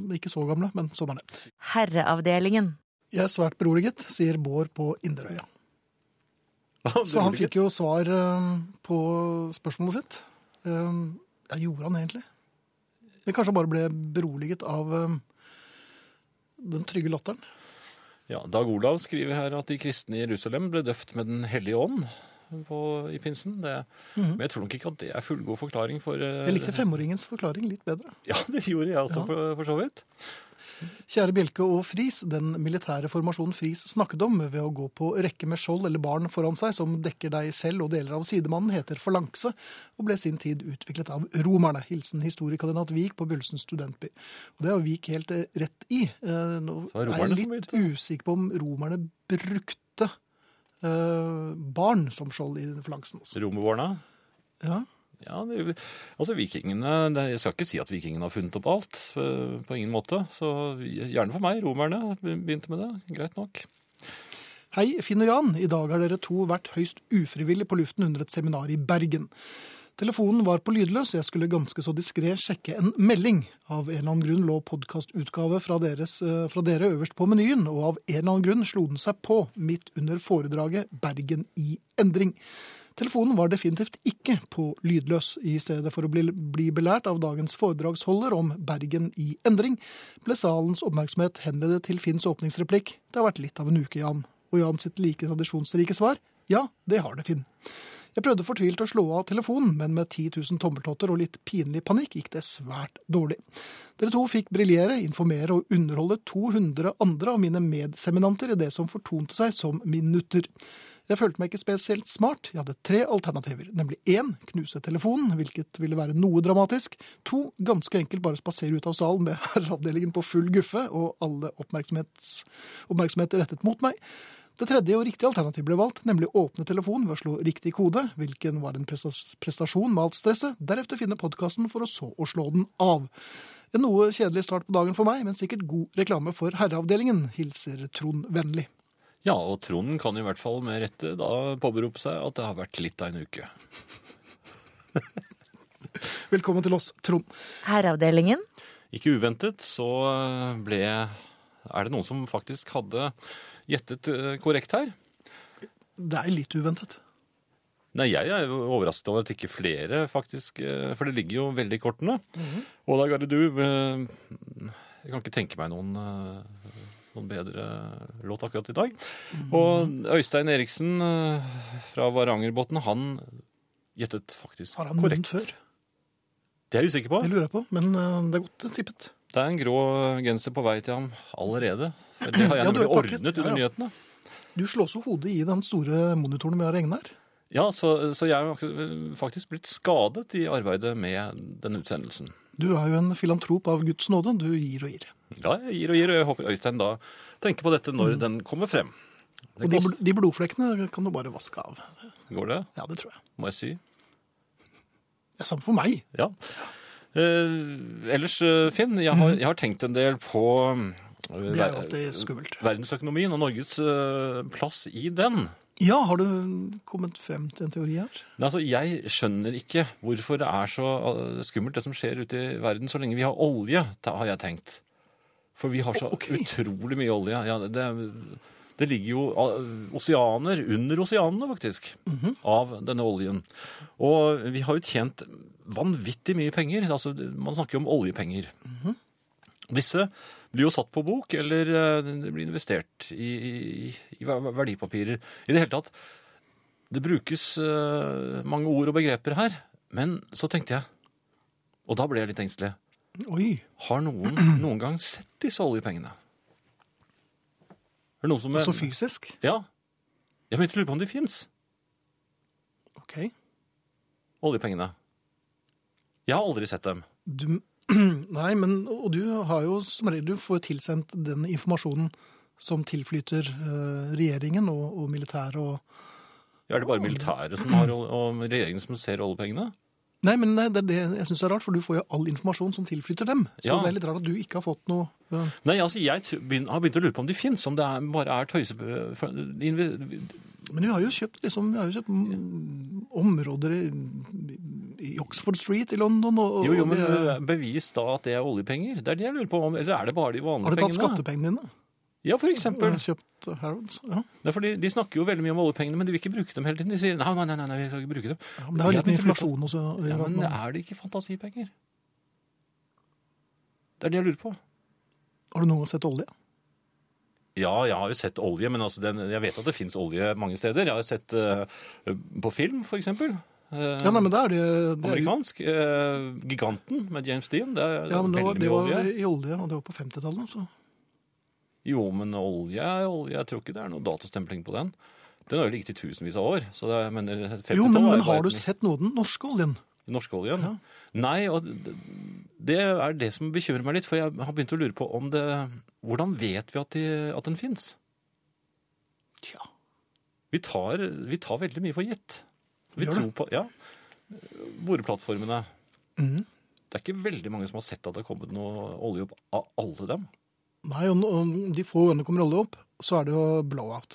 Speaker 1: ble ikke så gamle, men sånn er det.
Speaker 3: Herreavdelingen.
Speaker 1: Jeg er svært beroliget, sier Bård på Inderøya. Så han fikk jo svar eh, på spørsmålet sitt. Eh, Ja, gjorde han egentlig? Men kanskje han bare ble beroliget av eh, den trygge latteren.
Speaker 2: Ja, Dag Olav skriver her at de kristne i Jerusalem ble døpt med Den hellige ånd på, i pinsen. Det, Men jeg tror nok ikke at det er fullgod forklaring for eh,
Speaker 1: Mhm. Jeg likte femåringens forklaring litt bedre.
Speaker 2: Ja, det gjorde jeg også, for, for så vidt.
Speaker 1: Kjære Bjelke og Friis, den militære formasjonen Friis snakket om ved å gå på rekke med skjold eller barn foran seg som dekker deg selv og deler av sidemannen, heter forlanse og ble sin tid utviklet av romerne. Hilsen historiekadenat Vik på Bulsen studentby. Og det har Vik helt eh, rett i. Eh, Nå
Speaker 2: var
Speaker 1: er
Speaker 2: romerne
Speaker 1: jeg
Speaker 2: som
Speaker 1: litt usikker på om romerne brukte eh, barn som skjold i forlansen. Altså.
Speaker 2: Romerborna.
Speaker 1: Ja.
Speaker 2: Ja, det, altså vikingene det, Jeg skal ikke si at vikingene har funnet opp alt. eh, På ingen måte. Så gjerne for meg. Romerne begynte med det. Greit nok.
Speaker 1: Hei, Finn og Jan. I dag har dere to vært høyst ufrivillig på luften under et seminar i Bergen. Telefonen var på lydløs, og jeg skulle ganske så diskré sjekke en melding. Av en eller annen grunn lå podkastutgave fra, deres- eh, fra dere øverst på menyen, og av en eller annen grunn slo den seg på midt under foredraget 'Bergen i endring'. Telefonen var definitivt ikke på lydløs. I stedet for å bli, bli belært av dagens foredragsholder om Bergen i endring, ble salens oppmerksomhet henledet til Finns åpningsreplikk. Det har vært litt av en uke, Jan. Og Jan sitt like tradisjonsrike svar? Ja, det har det, Finn. Jeg prøvde fortvilt å slå av telefonen, men med 10 000 tommeltotter og litt pinlig panikk gikk det svært dårlig. Dere to fikk briljere, informere og underholde 200 andre av mine medseminanter i det som fortonte seg som minutter. Jeg følte meg ikke spesielt smart. Jeg hadde tre alternativer, nemlig én knuse telefonen, hvilket ville være noe dramatisk, to ganske enkelt bare spasere ut av salen med herreavdelingen på full guffe og alle oppmerksomhets- oppmerksomhet rettet mot meg. Det tredje og riktige alternativet ble valgt, nemlig åpne telefonen ved å slå riktig kode, hvilken var en prestas- prestasjon med alt stresset, deretter finne podkasten for å så å slå den av. En noe kjedelig start på dagen for meg, men sikkert god reklame for herreavdelingen, hilser Trond vennlig.
Speaker 2: Ja, og Trond kan i hvert fall med rette da påberope seg at det har vært litt av en uke.
Speaker 1: Velkommen til oss, Trond.
Speaker 3: Herreavdelingen.
Speaker 2: Ikke uventet så eh, ble Er det noen som faktisk hadde gjettet eh, korrekt her?
Speaker 1: Det er litt uventet.
Speaker 2: Nei, jeg er jo overrasket over at ikke flere faktisk eh, For det ligger jo veldig i kortene.
Speaker 1: Mhm.
Speaker 2: Og da, Garde, du eh, Jeg kan ikke tenke meg noen, eh, noen bedre låt akkurat i dag.
Speaker 1: Mhm.
Speaker 2: Og Øystein Eriksen eh, fra Varangerbotn, han gjettet faktisk
Speaker 1: Har han vunnet før?
Speaker 2: Det er jeg usikker på.
Speaker 1: Det lurer jeg på, men eh, det er godt tippet.
Speaker 2: Det er en grå genser på vei til ham allerede. Det har jeg
Speaker 1: Ja, du
Speaker 2: nemlig
Speaker 1: er pakket.
Speaker 2: ordnet under
Speaker 1: Ja, ja.
Speaker 2: nyhetene.
Speaker 1: Du slår så hodet i den store monitoren vi har hengende her.
Speaker 2: Ja, så, så jeg har eh, faktisk blitt skadet i arbeidet med den utsendelsen.
Speaker 1: Du er jo en filantrop av Guds nåde. Du gir og gir.
Speaker 2: Ja, jeg gir og gir, og jeg håper Øystein da tenker på dette når den kommer frem. Det
Speaker 1: Og de,
Speaker 2: kost-
Speaker 1: bl- de blodflekkene kan du bare vaske av.
Speaker 2: Går det,
Speaker 1: Ja, det tror jeg.
Speaker 2: må jeg si.
Speaker 1: Det er samme for meg.
Speaker 2: Ja. Eh, ellers, eh, Finn, jeg har, jeg har tenkt en del på eh,
Speaker 1: Det er jo alltid skummelt.
Speaker 2: verdensøkonomien og Norges eh, plass i den.
Speaker 1: Ja, har du kommet frem til en teori her?
Speaker 2: Nei, altså, jeg skjønner ikke hvorfor det er så eh, skummelt det som skjer ute i verden så lenge vi har olje, da har jeg tenkt. For vi har så
Speaker 1: O- ok.
Speaker 2: utrolig mye olje. Ja, det, det ligger jo eh, oseaner under oseanene, faktisk, av denne oljen. Og vi har jo tjent vanvittig mye penger. Altså, man snakker jo om oljepenger. Disse blir jo satt på bok, eller eh, det blir investert i, i, i ver- verdipapirer. I det hele tatt, det brukes eh, mange ord og begreper her, men så tenkte jeg, og da ble jeg litt engstelig,
Speaker 1: Oi.
Speaker 2: har noen noen gang sett disse oljepengene? Er det noen som...
Speaker 1: Så altså fysisk?
Speaker 2: Ja. Jeg begynte å lure på om de finnes,
Speaker 1: Ok.
Speaker 2: oljepengene. Jeg har aldri sett dem.
Speaker 1: Du, nei, men Og du har jo som regel Du får tilsendt den informasjonen som tilflyter eh, regjeringen og, og militæret og
Speaker 2: Er det bare militære som har, ol- og regjeringen som ser oljepengene?
Speaker 1: Nei, men nei, det er det jeg syns er rart, for du får jo all informasjon som tilflyter dem. Så
Speaker 2: Ja.
Speaker 1: det er litt rart at du ikke har fått noe eh,
Speaker 2: Nei, altså, jeg t- begyn- har begynt å lure på om de finnes, om det er, bare er tøyse... for- inve-
Speaker 1: Men vi har jo kjøpt, liksom, vi har jo kjøpt mm, områder i, i Oxford Street i London. Og, og
Speaker 2: Jo, jo, men
Speaker 1: vi,
Speaker 2: eh, bevis da at det er oljepenger. Det er det jeg lurer på. om, Eller er det bare de vanlige
Speaker 1: har du
Speaker 2: pengene?
Speaker 1: tatt skattepengene dine?
Speaker 2: Ja, for
Speaker 1: Og
Speaker 2: eksempel.
Speaker 1: kjøpt Harrods? Ja.
Speaker 2: Nei, for de, de snakker jo veldig mye om oljepengene, men de vil ikke bruke dem hele tiden. De sier nei, nei, nei, nei, nei vi skal ikke bruke dem.
Speaker 1: ja, men det har
Speaker 2: Jeg
Speaker 1: jo litt med
Speaker 2: begynte å lure på-
Speaker 1: inflasjon også. å
Speaker 2: Ja,
Speaker 1: gjøre,
Speaker 2: men
Speaker 1: at man-
Speaker 2: er det ikke fantasipenger? Det er det jeg lurer på.
Speaker 1: Har du noen gang sett olje?
Speaker 2: Ja, jeg har jo sett olje, men altså den, jeg vet at det fins olje mange steder. Jeg har sett eh, på film, for eksempel. Eh,
Speaker 1: Ja, nei, men det er det, det er, jo-
Speaker 2: amerikansk. eh, Giganten med James Dean. Det er
Speaker 1: ja, men det var, det
Speaker 2: veldig mye
Speaker 1: var
Speaker 2: olje.
Speaker 1: i olje, og det var på altså. 50-tallet. Så.
Speaker 2: Jo, men olje er olje. Jeg tror ikke det er noe datastempling på den. Den har jo ligget i tusenvis av år. Så det, jeg mener,
Speaker 1: Jo, men,
Speaker 2: 50-tallet er
Speaker 1: men
Speaker 2: bare
Speaker 1: har du
Speaker 2: den
Speaker 1: sett noe av den norske oljen?
Speaker 2: norske oljen? Nei, og det- det er det som bekymrer meg litt. For jeg har begynt å lure på om det Hvordan vet vi at, de, at den fins?
Speaker 1: Tja.
Speaker 2: Vi tar, vi tar veldig mye for gitt. Vi
Speaker 1: Gjør
Speaker 2: tror på Ja. Boreplattformene.
Speaker 1: Mhm.
Speaker 2: Det er ikke veldig mange som har sett at det har kommet noe olje opp av alle dem.
Speaker 1: Nei, og, og de få gangene det kommer olje opp, så er det jo blowout.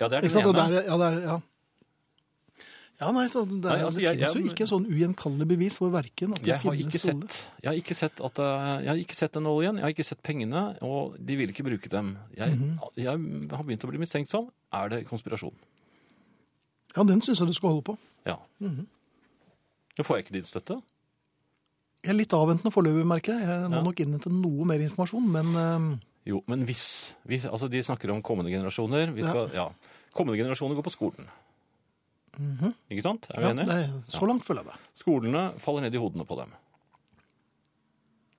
Speaker 2: Ja, det er
Speaker 1: Ikke
Speaker 2: den
Speaker 1: sant? Og
Speaker 2: ene.
Speaker 1: der, ja, der, ja. ja, nei, så det, er-
Speaker 2: Nei, altså,
Speaker 1: det
Speaker 2: jeg-
Speaker 1: finnes jo
Speaker 2: jeg-
Speaker 1: ikke sånn ugjenkallelig bevis for verken at det
Speaker 2: Jeg har,
Speaker 1: finnes olje.
Speaker 2: ikke sett, jeg, har ikke sett at, eh, jeg har ikke sett den oljen, jeg har ikke sett pengene, og de vil ikke
Speaker 1: Mhm.
Speaker 2: bruke dem. Jeg, jeg har begynt å bli mistenkt som, er det konspirasjon?
Speaker 1: Ja, Ja, den syns jeg du skal holde på.
Speaker 2: Ja.
Speaker 1: Mhm.
Speaker 2: Da får jeg ikke din støtte.
Speaker 1: Jeg er litt avventende foreløpig, merker jeg. Jeg må
Speaker 2: Ja.
Speaker 1: nok innhente noe mer informasjon, men eh,
Speaker 2: Jo, men hvis, hvis altså De snakker om kommende generasjoner. Vi skal, ja. Kommende generasjoner går på skolen. Ikke sant? Er vi
Speaker 1: Mhm. ja,
Speaker 2: enige?
Speaker 1: det, er- så langt føler jeg det.
Speaker 2: Skolene faller ned i hodene på dem.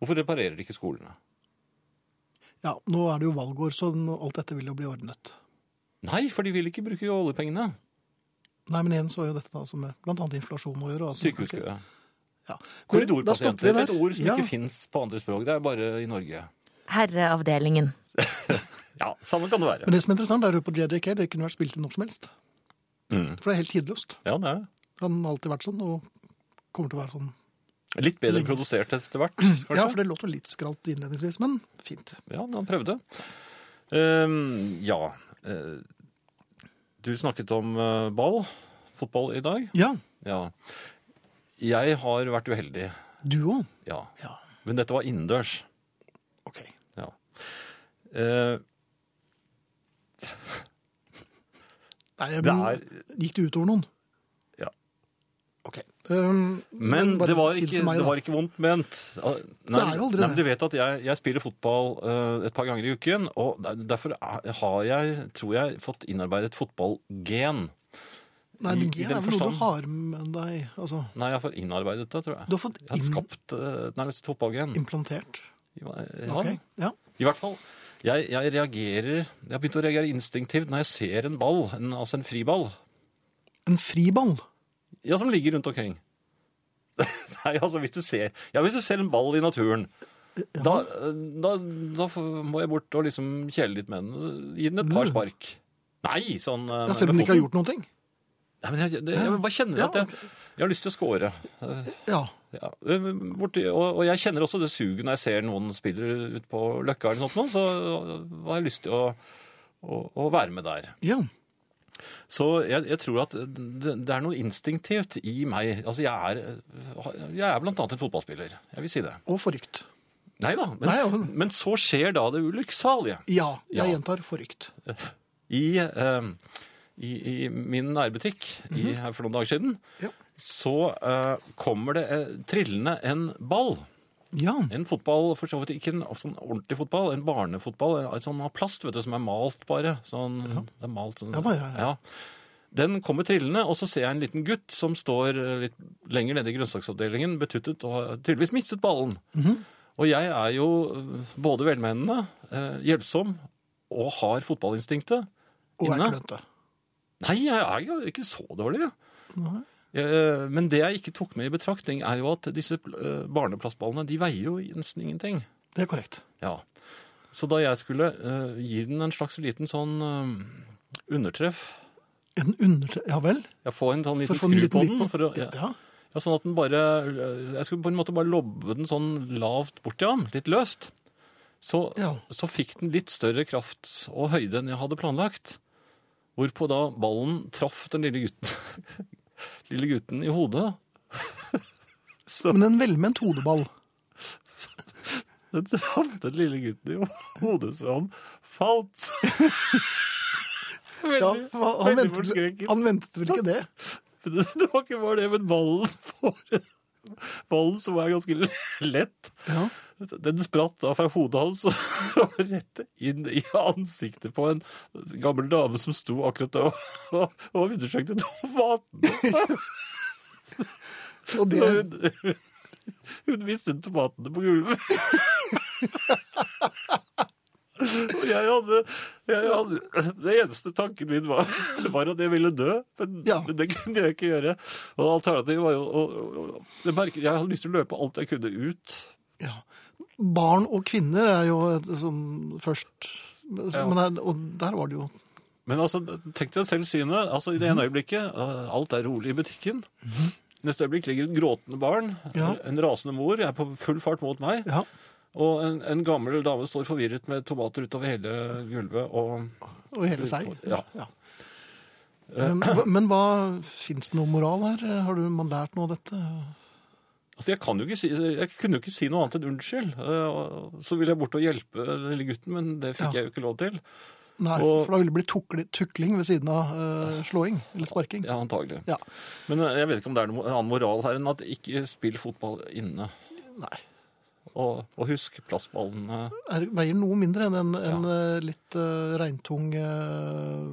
Speaker 2: Hvorfor reparerer de ikke skolene?
Speaker 1: Ja, Nå er det jo valgår, så nå- alt dette vil jo bli ordnet.
Speaker 2: Nei, for de vil ikke bruke oljepengene.
Speaker 1: Nei, men igjen så er jo dette da som med bl.a. inflasjon å gjøre. og at-
Speaker 2: Sykehuskø.
Speaker 1: Ja. Da stopper vi
Speaker 2: Korridorpasienter.
Speaker 1: der.
Speaker 2: Et ord som
Speaker 1: ja.
Speaker 2: ikke fins på andre språk. Det er bare i Norge.
Speaker 3: Herreavdelingen.
Speaker 2: Ja, samme kan det være.
Speaker 1: Men det som er interessant, er jo på JJK, det kunne vært spilt inn når som helst.
Speaker 2: Mm.
Speaker 1: For det er helt tidløst.
Speaker 2: Ja, det er det.
Speaker 1: Han har alltid vært sånn, og kommer til å være sånn.
Speaker 2: Litt bedre produsert etter hvert,
Speaker 1: Ja,
Speaker 2: kanskje.
Speaker 1: for det låter litt skralt innledningsvis, men fint.
Speaker 2: Ja, han prøvde. Ehm, ja. eh, Du snakket om eh, ball, fotball, i dag.
Speaker 1: Ja,
Speaker 2: Ja. Jeg har vært uheldig,
Speaker 1: du òg.
Speaker 2: ja.
Speaker 1: Ja,
Speaker 2: Men dette var innendørs.
Speaker 1: OK.
Speaker 2: Ja. Eh,
Speaker 1: Nei,
Speaker 2: Det
Speaker 1: men,
Speaker 2: er-
Speaker 1: Gikk det utover noen?
Speaker 2: Ja.
Speaker 1: OK. Um,
Speaker 2: men
Speaker 1: bare
Speaker 2: det var,
Speaker 1: si
Speaker 2: ikke,
Speaker 1: til meg,
Speaker 2: det
Speaker 1: da.
Speaker 2: var ikke vondt ment. Ah, Nei,
Speaker 1: Det er jo aldri
Speaker 2: nei,
Speaker 1: det.
Speaker 2: men du vet at jeg, jeg spiller fotball eh, et par ganger i uken, og der- derfor er- har jeg, tror jeg, fått innarbeidet fotballgen.
Speaker 1: Nei,
Speaker 2: i-
Speaker 1: det
Speaker 2: i
Speaker 1: gen
Speaker 2: den
Speaker 1: er vel noe
Speaker 2: forstand.
Speaker 1: du har med deg. Altså,
Speaker 2: Nei, jeg har fått innarbeidet det, tror jeg.
Speaker 1: du har fått
Speaker 2: Jeg har
Speaker 1: im-
Speaker 2: skapt eh, nærmest et fotballgen.
Speaker 1: implantert.
Speaker 2: Ja,
Speaker 1: Ok, Ja.
Speaker 2: I hvert fall. Jeg, jeg reagerer Jeg har begynt å reagere instinktivt når jeg ser en ball, en, altså en friball,
Speaker 1: En friball.
Speaker 2: ja, som ligger rundt omkring. Nei, altså hvis du ser Ja, hvis du ser en ball i naturen, da, eh, da, da f- må jeg bort og liksom kjele litt med den. Gi den et par spark. Nei, sånn eh,
Speaker 1: Mm. Ja, selv om den
Speaker 2: med
Speaker 1: ikke har
Speaker 2: foten.
Speaker 1: gjort noen ting.
Speaker 2: Nei, men jeg, det- jeg bare kjenner
Speaker 1: Ja,
Speaker 2: at jeg, jeg har lyst til å score. Eh,
Speaker 1: Ja.
Speaker 2: Ja, borti, og, og jeg kjenner også det suget når jeg ser noen spiller ut på Løkka eller noe sånt, nå, så har jeg lyst til å, å, å være med der.
Speaker 1: ja.
Speaker 2: Så jeg, jeg tror at det, det er noe instinktivt i meg. Altså, jeg er, jeg er blant annet en fotballspiller. Jeg vil si det.
Speaker 1: Og forrykt.
Speaker 2: Nei da, men,
Speaker 1: Nei, ja, men-
Speaker 2: men så skjer da det ulykksalige.
Speaker 1: Ja, jeg
Speaker 2: Ja.
Speaker 1: gjentar forrykt.
Speaker 2: I, eh, i, i min nærbutikk i, her for noen dager siden,
Speaker 1: Ja.
Speaker 2: så eh, kommer det eh, trillende en ball.
Speaker 1: Ja.
Speaker 2: En fotball, for så vidt ikke en sånn ordentlig fotball, en barnefotball, en sånn av plast, vet du, som er malt bare. Sånn, det er malt sånn.
Speaker 1: Ja da, ja, ja.
Speaker 2: Den kommer trillende, og så ser jeg en liten gutt som står eh, litt lenger nede i grønnsaksavdelingen, betuttet, og har tydeligvis mistet ballen.
Speaker 1: Mhm.
Speaker 2: Og jeg er jo eh, både velmenende, eh, hjelpsom, og har fotballinstinktet.
Speaker 1: Og er
Speaker 2: Inne?
Speaker 1: klønete.
Speaker 2: Nei, jeg er jo ikke så dårlig.
Speaker 1: Nei.
Speaker 2: Eh, Men det jeg ikke tok med i betraktning, er jo at disse eh, barneplastballene, de veier jo nesten ingenting.
Speaker 1: Det er korrekt.
Speaker 2: Ja. Så da jeg skulle eh, gi den en slags liten sånn eh, undertreff
Speaker 1: En under... Ja vel?
Speaker 2: Jeg får en sånn
Speaker 1: For
Speaker 2: liten
Speaker 1: å få en
Speaker 2: skru
Speaker 1: liten
Speaker 2: på
Speaker 1: lyd
Speaker 2: den.
Speaker 1: på-
Speaker 2: For å, ja.
Speaker 1: Ja.
Speaker 2: Ja, sånn at den bare eh, Jeg skulle på en måte bare lobbe den sånn lavt borti ham, litt løst. Så,
Speaker 1: Ja.
Speaker 2: så fikk den litt større kraft og høyde enn jeg hadde planlagt. Hvorpå da ballen traff den lille gutten, lille gutten i hodet. Så
Speaker 1: Men en velment hodeball.
Speaker 2: den traff den lille gutten i hodet, så han falt.
Speaker 1: Ja,
Speaker 2: Veldig-
Speaker 1: hva- han,
Speaker 2: veldig
Speaker 1: ventet,
Speaker 2: forskrekket.
Speaker 1: han ventet vel ikke det?
Speaker 2: Det det var ikke bare det, men ballen får Ballen som er ganske lett,
Speaker 1: Ja.
Speaker 2: den spratt da fra hodet hans og rett inn i ansiktet på en gammel dame som sto akkurat og, og, og undersøkte tomatene.
Speaker 1: Og det,
Speaker 2: Så hun, hun mistet tomatene på gulvet. Og jeg hadde, jeg hadde Det eneste tanken min var, var at jeg ville dø, men,
Speaker 1: Ja.
Speaker 2: men det kunne jeg ikke gjøre. Og alternativet var jo å, å, å jeg, merket, jeg hadde lyst til å løpe alt jeg kunne ut.
Speaker 1: ja. Barn og kvinner er jo et sånn først men, her- Og der var det jo
Speaker 2: Men altså, tenk deg selv synet. Altså, I det ene øyeblikket
Speaker 1: Mhm.
Speaker 2: øh, alt er rolig i butikken. Neste øyeblikk ligger et gråtende barn,
Speaker 1: Ja.
Speaker 2: en rasende mor, er på full fart mot meg.
Speaker 1: Ja.
Speaker 2: Og en, en gammel dame står forvirret med tomater utover hele gulvet. Og
Speaker 1: Og hele seg.
Speaker 2: Ja.
Speaker 1: Um, hva- Men hva Fins det noe moral her? Har du, man lært noe av dette?
Speaker 2: altså, jeg, kan jo ikke si, jeg kunne jo ikke si noe annet enn unnskyld. Eh, og- Så ville jeg bort og hjelpe den lille gutten, men det fikk
Speaker 1: Ja.
Speaker 2: jeg jo ikke lov til.
Speaker 1: Nei,
Speaker 2: Og-
Speaker 1: for da ville det blitt tukli, tukling ved siden av eh, slåing eller sparking.
Speaker 2: Ja, antagelig.
Speaker 1: Ja.
Speaker 2: Men eh, jeg vet ikke om det er noen annen moral her enn at ikke spill fotball inne.
Speaker 1: Nei.
Speaker 2: Og, og husk plastballene.
Speaker 1: Er, veier noe mindre enn en, en eh, litt eh, regntung eh,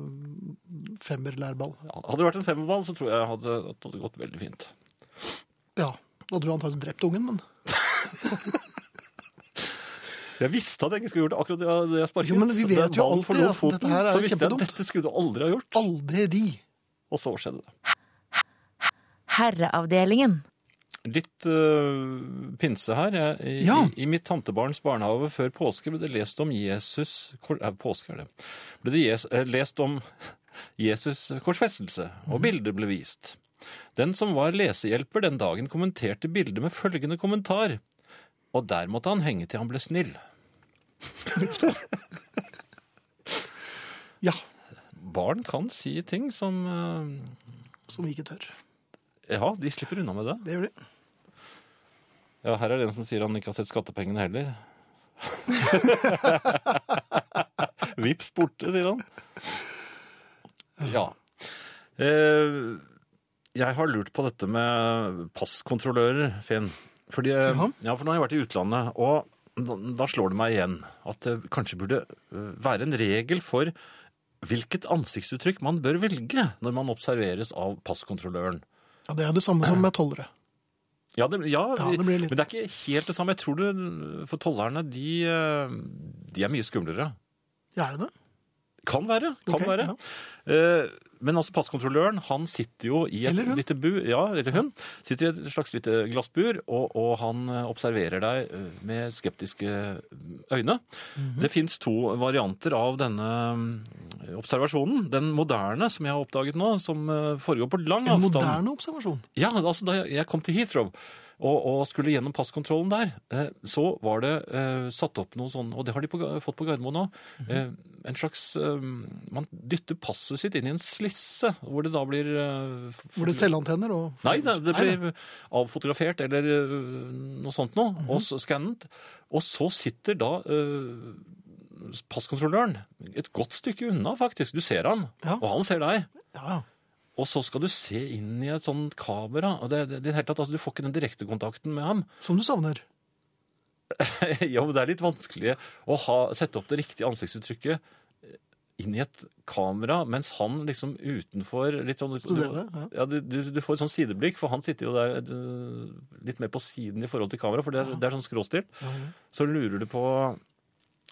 Speaker 1: femmerlærball.
Speaker 2: Ja, hadde det vært en femmerball, så tror jeg det hadde, at det hadde gått veldig fint.
Speaker 1: Ja. Da hadde du antakeligvis drept ungen, men
Speaker 2: Jeg visste at jeg ikke skulle gjort akkurat det jeg- det jeg sparket.
Speaker 1: Jo, men vi
Speaker 2: Den
Speaker 1: vet jo
Speaker 2: ballen
Speaker 1: alltid
Speaker 2: forlot
Speaker 1: at
Speaker 2: foten,
Speaker 1: dette her er
Speaker 2: Så visste jeg at
Speaker 1: kjempedumt.
Speaker 2: dette skulle du aldri ha gjort.
Speaker 1: aldri.
Speaker 2: Og så skjedde det.
Speaker 3: Herreavdelingen.
Speaker 2: Litt øh, pinse her. Jeg, i,
Speaker 1: Ja.
Speaker 2: i, I mitt tantebarns barnehage før påske ble det lest om Jesus kor- eh, Påske er det. Ble det jes, eh, lest om Jesus korsfestelse, og bilder ble vist. Den som var lesehjelper den dagen, kommenterte bildet med følgende kommentar. Og der måtte han henge til han ble snill.
Speaker 1: Ja.
Speaker 2: Barn kan si ting som øh,
Speaker 1: Som vi ikke tør.
Speaker 2: Ja, de slipper unna med det.
Speaker 1: Det gjør de.
Speaker 2: Ja, her er det en som sier han ikke har sett skattepengene heller. Vips borte, sier han. Ja. Eh, jeg har lurt på dette med passkontrollører, Finn. Fordi, eh,
Speaker 1: Jaha.
Speaker 2: ja, for nå har jeg vært i utlandet, og da- da slår det meg igjen at det kanskje burde eh, være en regel for hvilket ansiktsuttrykk man bør velge når man observeres av passkontrolløren.
Speaker 1: Ja, Det er det samme som med tollere.
Speaker 2: Ja, det, ja,
Speaker 1: Ja, det blir litt-
Speaker 2: men det er ikke helt det samme. Jeg tror det, For tollerne, de, eh, de er mye skumlere.
Speaker 1: Ja, er det det?
Speaker 2: Kan være. kan
Speaker 1: Ok,
Speaker 2: være.
Speaker 1: ja.
Speaker 2: Eh, Men altså passkontrolløren, han sitter jo i et
Speaker 1: Eller hun.
Speaker 2: lite bu, ja, eller hun, sitter i et slags lite glassbur, og, og han eh, observerer deg eh, med skeptiske mm, øyne.
Speaker 1: Mhm.
Speaker 2: Det fins to varianter av denne eh, observasjonen. Den moderne, som jeg har oppdaget nå, som eh, foregår på lang
Speaker 1: En
Speaker 2: avstand.
Speaker 1: moderne observasjon.
Speaker 2: Ja, altså da jeg- jeg kom til Heathrow og, og skulle gjennom passkontrollen der, eh, så var det eh, satt opp noe sånn, og det har de på, Ga- fått på Gardermoen nå,
Speaker 1: Mhm.
Speaker 2: eh, en slags, eh, man dytter passet sitt inn i en slisse, hvor det da blir... Eh, f-
Speaker 1: Hvor det er selvantenner og
Speaker 2: Nei, det, det blir avfotografert eller øh, noe sånt nå,
Speaker 1: Mhm.
Speaker 2: og så skannet. Og så sitter da øh, passkontrolløren et godt stykke unna, faktisk. Du ser han,
Speaker 1: Ja.
Speaker 2: og han ser deg.
Speaker 1: Ja, ja.
Speaker 2: Og så skal du se inn i et sånt kamera. og det, det, det, hele tatt, altså, Du får ikke den direktekontakten med ham.
Speaker 1: Som du savner.
Speaker 2: ja, men Det er litt vanskelig å ha, sette opp det riktige ansiktsuttrykket eh, inn i et kamera, mens han liksom utenfor litt sånn,
Speaker 1: Studerer,
Speaker 2: du,
Speaker 1: ja.
Speaker 2: ja, du, du, du får et sånn sideblikk, for han sitter jo der eh, litt mer på siden i forhold til kamera, for det er, det er sånn skråstilt. Så lurer du på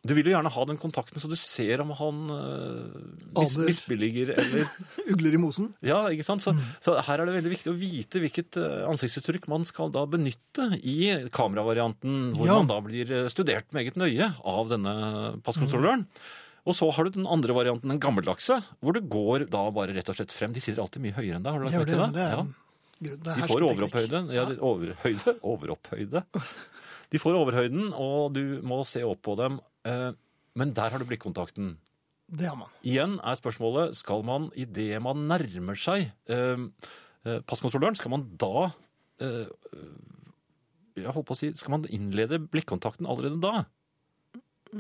Speaker 2: Du vil jo gjerne ha den kontakten, så du ser om han eh, mis,
Speaker 1: Aner.
Speaker 2: misbilliger eller
Speaker 1: Ugler i mosen.
Speaker 2: Ja, ikke sant? Så,
Speaker 1: Mm.
Speaker 2: så her er det veldig viktig å vite hvilket eh, ansiktsuttrykk man skal da benytte i kameravarianten, hvor
Speaker 1: Ja.
Speaker 2: man da blir eh, studert meget nøye av denne
Speaker 1: Mm.
Speaker 2: passkontrolløren. Og så har du den andre varianten, den gammeldagse, hvor du går da bare rett og slett frem. De sitter alltid mye høyere enn deg, har du lagt
Speaker 1: Gjør
Speaker 2: merke
Speaker 1: det,
Speaker 2: til
Speaker 1: men det
Speaker 2: det?
Speaker 1: er
Speaker 2: Ja.
Speaker 1: en grunn. Det er
Speaker 2: De får
Speaker 1: hersketeknikk.
Speaker 2: overopphøyde. Ja, de- overhøyde. Overopphøyde. De får overhøyden, og du må se opp på dem. eh, Men der har du blikkontakten.
Speaker 1: Det har man.
Speaker 2: Igjen er spørsmålet, skal man i det man nærmer seg eh, eh, passkontrolløren, skal man da eh, jeg holdt på å si, skal man innlede blikkontakten allerede da?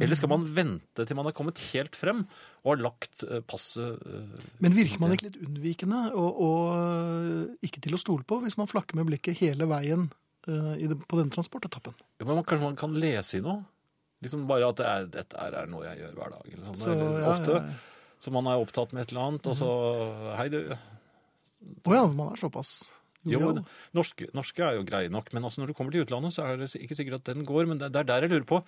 Speaker 2: Eller skal man vente til man er kommet helt frem og har lagt eh, passet eh,
Speaker 1: Men virker man ikke litt unnvikende og, og øh, ikke til å stole på hvis man flakker med blikket hele veien øh, i den- på denne transportetappen?
Speaker 2: ja, men man, Kanskje man kan lese i noe? Liksom bare at det er, dette her er noe jeg gjør hver dag. Eller sånn,
Speaker 1: Så,
Speaker 2: eller,
Speaker 1: ja,
Speaker 2: ofte.
Speaker 1: ja, ja.
Speaker 2: Så man er opptatt med et eller annet, og så Hei, du.
Speaker 1: Å ja, man er såpass
Speaker 2: Jo,
Speaker 1: jovial.
Speaker 2: men norske, norske er jo greie nok, men altså når du kommer til utlandet, så er det ikke sikkert at den går. Men det det er der jeg lurer på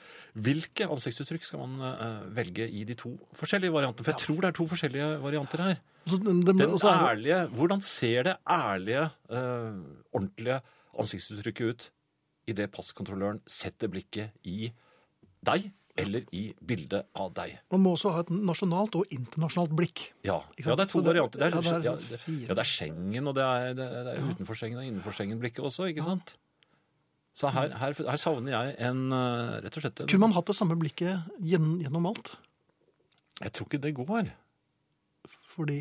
Speaker 2: hvilke ansiktsuttrykk skal man eh, velge i de to forskjellige variantene? For jeg tror det er to forskjellige varianter her.
Speaker 1: Så den- den-
Speaker 2: Den
Speaker 1: og så altså, er det-
Speaker 2: ærlige, Hvordan ser det ærlige, eh, ordentlige ansiktsuttrykket ut idet passkontrolløren setter blikket i deg eller i bildet av deg?
Speaker 1: man må også ha et nasjonalt og internasjonalt blikk.
Speaker 2: Ja,
Speaker 1: Ikke
Speaker 2: ja
Speaker 1: sant?
Speaker 2: det er to
Speaker 1: Så det-
Speaker 2: varianter. Det er,
Speaker 1: ja, det er
Speaker 2: ja,
Speaker 1: sånn
Speaker 2: det,
Speaker 1: fire.
Speaker 2: ja, det er Schengen, og det er, det er, det er utenfor Schengen og innenfor Schengen-blikket også, ikke sant? Så her, her, her savner jeg en eh, Rett og slett en,
Speaker 1: Kunne man hatt det samme blikket gjen, gjennom alt?
Speaker 2: Jeg tror ikke det går.
Speaker 1: Fordi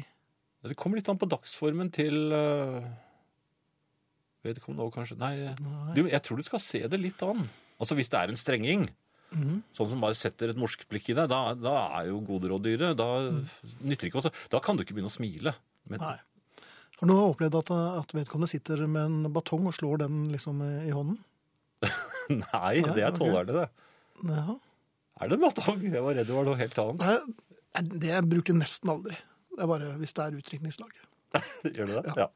Speaker 2: Det kommer litt an på dagsformen til eh, Vedkommende òg, kanskje. Nei,
Speaker 1: Nei.
Speaker 2: Du, jeg tror du skal se det litt an. Altså hvis det er en strenging.
Speaker 1: Mhm.
Speaker 2: Sånn som bare setter et morsk blikk i deg. Da, da er jo gode råd dyre. Da nytter ikke også. Da kan du ikke begynne å smile. Men,
Speaker 1: Mm. Nei. Har du noen gang opplevd at, at vedkommende sitter med en batong og slår den liksom i hånden?
Speaker 2: Nei, det er
Speaker 1: ok.
Speaker 2: tollerne, det.
Speaker 1: Ja.
Speaker 2: Er det en batong? Jeg var redd det var noe helt annet.
Speaker 1: Nei, Det jeg bruker jeg nesten aldri. Det er bare hvis det er utdrikningslag.
Speaker 2: Gjør det det? Ja.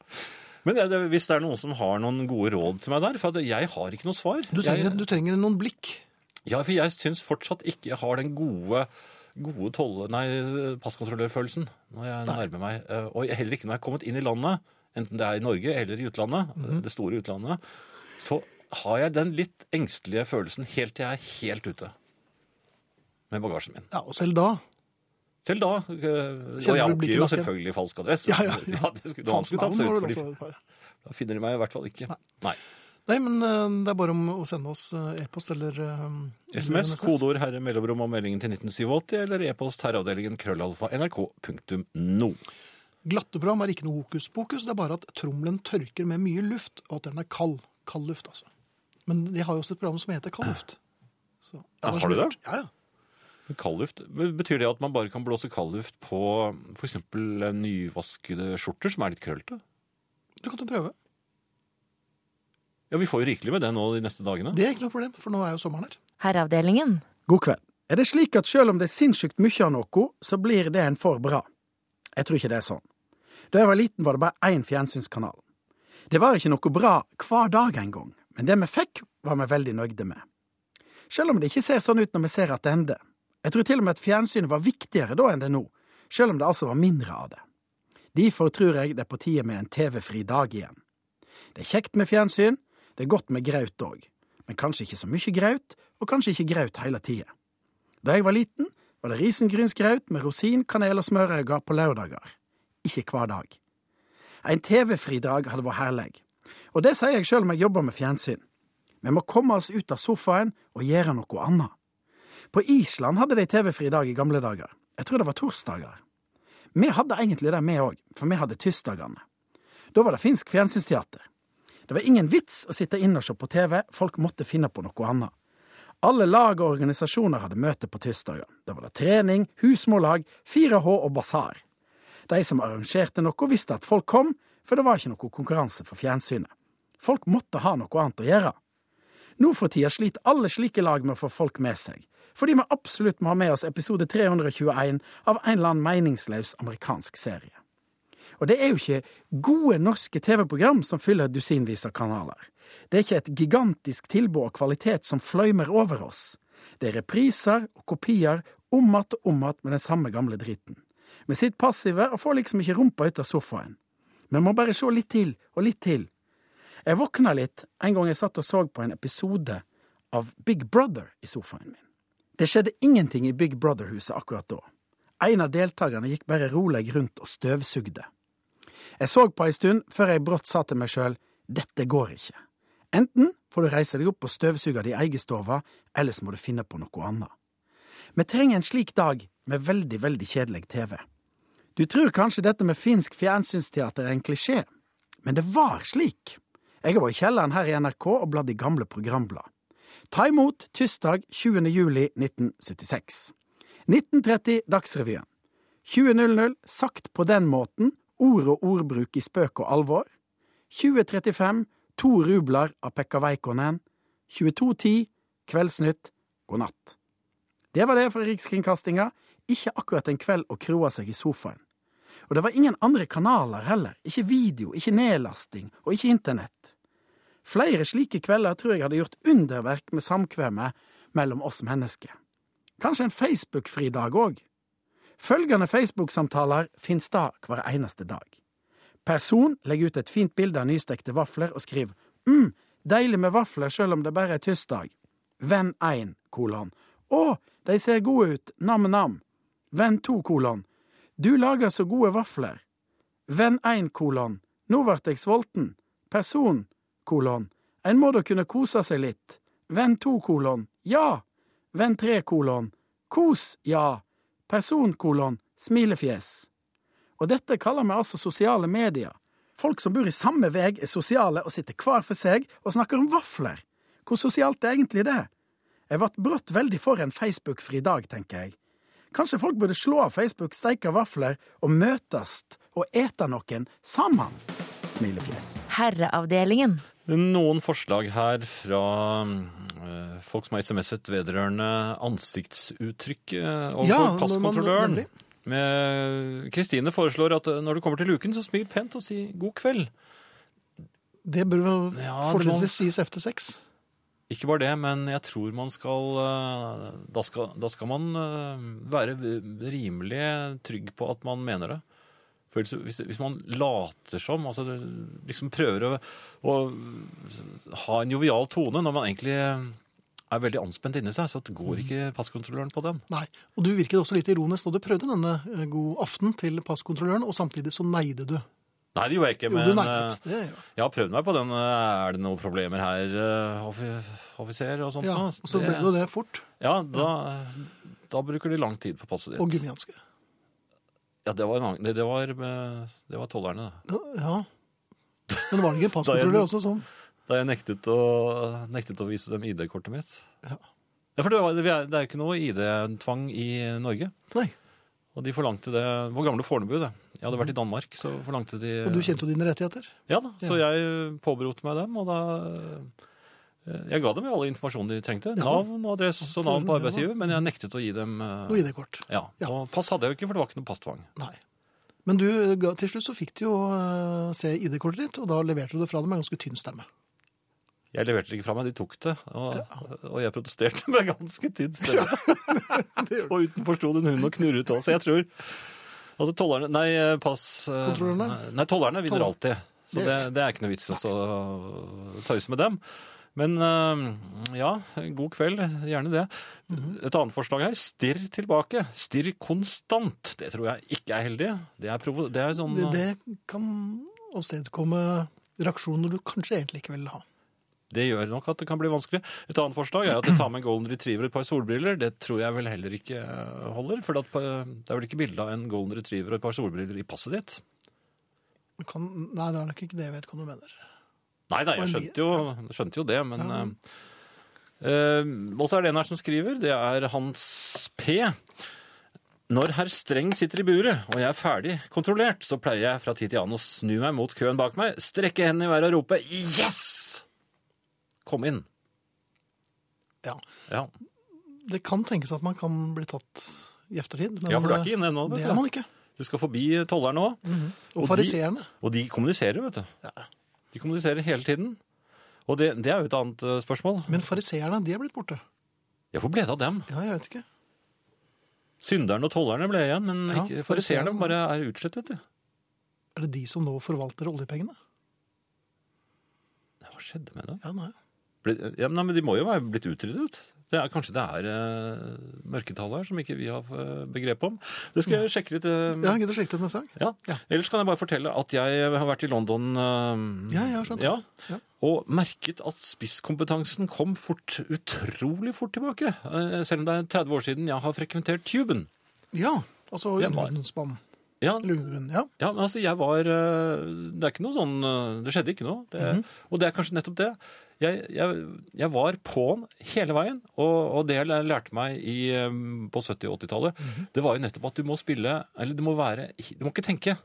Speaker 2: Men det, det, hvis det er noen som har noen gode råd til meg der, for at jeg har ikke noe svar.
Speaker 1: Du, trenger-
Speaker 2: jeg,
Speaker 1: du trenger noen blikk.
Speaker 2: Ja, for jeg syns fortsatt ikke jeg har den gode, gode tolle, nei, passkontrollørfølelsen når jeg nærmer meg. Eh, Og heller ikke når jeg er kommet inn i landet, enten det er i Norge eller i utlandet, eh, det store utlandet, så har jeg den litt engstelige følelsen helt til jeg er helt ute med bagasjen min.
Speaker 1: Ja, og selv da.
Speaker 2: Til da, eh, og
Speaker 1: Kjenner
Speaker 2: jeg
Speaker 1: du blikket
Speaker 2: oppgir jo
Speaker 1: nakken?
Speaker 2: selvfølgelig falsk adresse.
Speaker 1: Ja, ja.
Speaker 2: det skulle, da skulle tatt seg
Speaker 1: Fansnavn var
Speaker 2: ut,
Speaker 1: det
Speaker 2: fordi
Speaker 1: også et par.
Speaker 2: da finner de meg i hvert fall ikke. Nei.
Speaker 1: Nei, men eh, det er bare om å sende oss eh, e-post eller eh,
Speaker 2: SMS, kodeord herre mellomrom og meldingen til 1987, eller e-post herreavdelingen krøllalfa nrk.no.
Speaker 1: Glatteprogram er ikke noe hokus pokus, det er bare at trommelen tørker med mye luft, og at den er kald. Kald luft, altså. Men de har jo også et program som heter Kald luft. Så, det er bare
Speaker 2: Ja, Ah, har de
Speaker 1: smart.
Speaker 2: det?
Speaker 1: Ja, ja.
Speaker 2: Kaldluft, betyr det at man bare kan blåse kaldluft på f.eks. nyvaskede skjorter som er litt krøllete?
Speaker 1: Du kan jo prøve.
Speaker 2: Ja, vi får jo rikelig med det nå de neste dagene.
Speaker 1: Det er ikke noe problem, for nå er jo sommeren her.
Speaker 3: Herreavdelingen.
Speaker 4: God kveld. Er det slik at selv om det er sinnssykt mye av noe, så blir det en for bra? Jeg tror ikke det er sånn. Da jeg var liten, var det bare én fjernsynskanal. Det var ikke noe bra hver dag engang, men det vi fikk, var vi veldig nøyde med. Selv om det ikke ser sånn ut når vi ser at det ender. Jeg tror til og med at fjernsynet var viktigere da enn det er nå, selv om det altså var mindre av det. Derfor tror jeg det er på tide med en TV-fri dag igjen. Det er kjekt med fjernsyn, det er godt med graut òg, men kanskje ikke så mye graut, og kanskje ikke graut hele tida. Da jeg var liten, var det risengrynsgraut med rosin, kanel og smørøyger på lørdager. Ikke hver dag. En TV-fridag hadde vært herlig, og det sier jeg sjøl om jeg jobber med fjernsyn. Vi må komme oss ut av sofaen og gjøre noe annet. På Island hadde de TV-fridag i gamle dager. Jeg tror det var torsdager. Vi hadde egentlig det, vi òg, for vi hadde tirsdagene. Da var det finsk fjernsynsteater. Det var ingen vits å sitte inne og se på TV, folk måtte finne på noe annet. Alle lag og organisasjoner hadde møte på tirsdager. Da var det trening, husmorlag, 4H og basar. De som arrangerte noe, visste at folk kom, for det var ikke noe konkurranse for fjernsynet. Folk måtte ha noe annet å gjøre. Nå for tida sliter alle slike lag med å få folk med seg, fordi vi absolutt må ha med oss episode 321 av en eller annen meningsløs amerikansk serie. Og det er jo ikke gode norske TV-program som fyller dusinvis av kanaler. Det er ikke et gigantisk tilbud av kvalitet som fløymer over oss. Det er repriser og kopier om att og om att med den samme gamle driten. Vi sitter passive og får liksom ikke rumpa ut av sofaen. Vi må bare se litt til og litt til. Jeg våkna litt en gang jeg satt og så på en episode av Big Brother i sofaen min. Det skjedde ingenting i Big Brother-huset akkurat da. En av deltakerne gikk bare rolig rundt og støvsugde. Jeg så på ei stund før jeg brått sa til meg sjøl dette går ikke. Enten får du reise deg opp og støvsuge di egen stove, eller så må du finne på noe annet. Vi trenger en slik dag med veldig, veldig kjedelig TV. Du tror kanskje dette med finsk fjernsynsteater er en klisjé, men det var slik. Jeg var i kjelleren her i NRK og bladde i gamle programblad. Ta imot tirsdag 20. juli 1976. 1930 Dagsrevyen. 20.00 Sagt på den måten, ord og ordbruk i spøk og alvor. 20.35 To rubler av Pekka Veikkonen. 22.10 Kveldsnytt. God natt. Det var det fra Rikskringkastinga. Ikke akkurat en kveld å kroe seg i sofaen. Og det var ingen andre kanaler heller. Ikke video, ikke nedlasting, og ikke internett. Flere slike kvelder tror jeg hadde gjort underverk med samkvemmet mellom oss mennesker. Kanskje en Facebook-fridag òg? Følgende Facebook-samtaler finnes da hver eneste dag. Person legger ut et fint bilde av nystekte vafler og skriver mm, deilig med vafler selv om det bare er tirsdag. Venn 1, kolon. Å, de ser gode ut, nam-nam. Venn 2, kolon. Du lager så gode vafler. Venn 1, kolon. Nå vart jeg svolten. Person, kolon. En må da kunne kose seg litt. Venn 2, kolon. Ja. Venn 3, kolon. Kos, ja. Person, kolon. Smilefjes. Og dette kaller vi altså sosiale medier. Folk som bor i samme vei er sosiale og sitter hver for seg og snakker om vafler. Hvor sosialt er egentlig det? Jeg vart brått veldig for en Facebook-fri dag, tenker jeg. Kanskje folk burde slå av Facebook, steike vafler og møtast og ete noen sammen? Smilefjes.
Speaker 3: Herreavdelingen.
Speaker 2: Noen forslag her fra eh, folk som har SMS-et vedrørende ansiktsuttrykket overfor
Speaker 1: Ja,
Speaker 2: passkontrolløren.
Speaker 1: men-
Speaker 2: Med- Kristine foreslår at eh, når du kommer til luken, så smil pent og si 'god kveld'.
Speaker 1: Det bør vel
Speaker 2: Ja, det må-
Speaker 1: fortrinnsvis sies efter sex.
Speaker 2: Ikke bare det, men jeg tror man skal eh, Da skal, da skal man eh, være v- rimelig trygg på at man mener det. For ellers- hvis, hvis man later som, altså det, liksom prøver å, å ha en jovial tone når man egentlig er veldig anspent inni seg, så
Speaker 1: Mm.
Speaker 2: går ikke passkontrolløren på den.
Speaker 1: Nei, og du virket også litt ironisk da du prøvde denne eh, god aften til passkontrolløren, og samtidig så neide du.
Speaker 2: Nei, det gjorde jeg ikke,
Speaker 1: Jo,
Speaker 2: men
Speaker 1: du neidet.
Speaker 2: eh,
Speaker 1: Det, gjør jeg.
Speaker 2: jeg har prøvd meg på den eh, 'er det noen problemer her, eh, offi- offiser?' og sånt.
Speaker 1: ja,
Speaker 2: noe.
Speaker 1: og så ble det jo det fort,
Speaker 2: Ja, da, da bruker de lang tid på passet ditt.
Speaker 1: og gummihanske.
Speaker 2: Ja, det var, mange, det, det var, eh, det var tollerne. det.
Speaker 1: Ja. Men var det ikke en
Speaker 2: Da
Speaker 1: passkontroller
Speaker 2: er det-
Speaker 1: også sånn?
Speaker 2: Da jeg nektet å, nektet å vise dem ID-kortet mitt.
Speaker 1: Ja.
Speaker 2: Ja, for det, var, det er- det er jo ikke noe ID-tvang i Norge.
Speaker 1: Nei,
Speaker 2: Og de forlangte det Det var gamle Fornebu, det. Jeg hadde vært i Danmark, så forlangte de
Speaker 1: og du kjente jo dine rettigheter.
Speaker 2: Ja da, så jeg påberopte meg dem, og da eh, Jeg ga dem jo alle informasjonen de trengte.
Speaker 1: Ja.
Speaker 2: Navn og adresse og navn
Speaker 1: Ja,
Speaker 2: på
Speaker 1: da.
Speaker 2: arbeidsgiver, men jeg nektet å gi dem eh,
Speaker 1: Og ID-kort.
Speaker 2: ja.
Speaker 1: Ja.
Speaker 2: Og pass hadde jeg jo ikke, for det var ikke noe passtvang.
Speaker 1: Nei. Men du, eh, ga- til slutt så fikk du jo eh, se ID-kortet ditt, og da leverte du det fra deg med en ganske tynn stemme.
Speaker 2: Jeg leverte det ikke fra meg, de tok det. Og, og jeg protesterte med ganske tid stemme. og utenfor sto det en hund og knurret også. Jeg tror Altså tollerne Nei, pass eh,
Speaker 1: Kontrollørene?
Speaker 2: Nei, tollerne vinner
Speaker 1: Toll-
Speaker 2: alltid. Så
Speaker 1: Det
Speaker 2: det,
Speaker 1: gjør
Speaker 2: det er ikke noe vits også å tøyse med dem. Men eh, ja, god kveld. Gjerne det.
Speaker 1: Mhm.
Speaker 2: Et annet forslag her. Stirr tilbake. Stirr konstant. Det tror jeg ikke er heldig. Det er, provo det er sånn
Speaker 1: Det, det kan avstedkomme reaksjoner du kanskje egentlig ikke vil ha.
Speaker 2: Det gjør nok at det kan bli vanskelig. Et annet forslag er at jeg tar med en golden retriever og et par solbriller. Det tror jeg vel heller ikke eh, holder, for at, eh, det er vel ikke bilde av en golden retriever og et par solbriller i passet ditt?
Speaker 1: Du Kan, nei, det er nok ikke det jeg vet hva du mener.
Speaker 2: Nei da,
Speaker 1: Og
Speaker 2: jeg
Speaker 1: en
Speaker 2: skjønte jo, skjønte jo det, men eh, Og så er det en her som skriver, det er Hans P. Når herr Streng sitter i buret, og jeg er ferdig kontrollert, så pleier jeg fra tid til annen å snu meg mot køen bak meg, strekke hendene i været og rope 'yes!' Kom inn.
Speaker 1: Ja,
Speaker 2: Ja.
Speaker 1: Det kan tenkes at man kan bli tatt i eftertid. Men eh,
Speaker 2: ja, for du er ikke inne ennå,
Speaker 1: det
Speaker 2: vet
Speaker 1: er
Speaker 2: du.
Speaker 1: man ikke. Mhm.
Speaker 2: Du skal forbi tollerne òg.
Speaker 1: Og,
Speaker 2: Og de-
Speaker 1: fariseerne.
Speaker 2: Og de kommuniserer, vet du. De kommuniserer hele tiden. Og det, det er jo et annet eh, spørsmål.
Speaker 1: Men fariseerne, de er blitt borte.
Speaker 2: Ja, hvor ble det av dem?
Speaker 1: Ja, jeg vet ikke.
Speaker 2: Synderne og tollerne ble igjen, men
Speaker 1: Ja,
Speaker 2: ikke-
Speaker 1: fariseerne.
Speaker 2: fariseerne bare er utslettet, vet du.
Speaker 1: Er det de som nå forvalter oljepengene?
Speaker 2: Nei, Hva skjedde med det?
Speaker 1: Ja, nei.
Speaker 2: Ble, ja, men- nei, men de må jo være blitt utryddet. Det er, kanskje det er eh, mørketall her som ikke vi har eh, begrep om. Det skal jeg sjekke litt. eh,
Speaker 1: Ja, gidder du sjekke det neste gang?
Speaker 2: Ja.
Speaker 1: Ja.
Speaker 2: Ellers kan jeg bare fortelle at jeg har vært i London eh,
Speaker 1: Ja, jeg har skjønt det. Ja.
Speaker 2: Og merket at spisskompetansen kom fort, utrolig fort tilbake. eh, Selv om det er 30 år siden jeg har frekventert tuben.
Speaker 1: Ja, altså
Speaker 2: Jeg var-
Speaker 1: undergrunnsbanen.
Speaker 2: Ja,
Speaker 1: Eller undergrunnen, ja.
Speaker 2: ja, men altså jeg var eh, Det er ikke noe sånn eh, Det skjedde ikke noe. Det, Og det er kanskje nettopp det. Jeg, jeg, jeg var på'n hele veien, og, og det jeg lærte meg i, eh, på 70- og 80-tallet, det var jo nettopp at du må spille Eller du må være Du må ikke tenke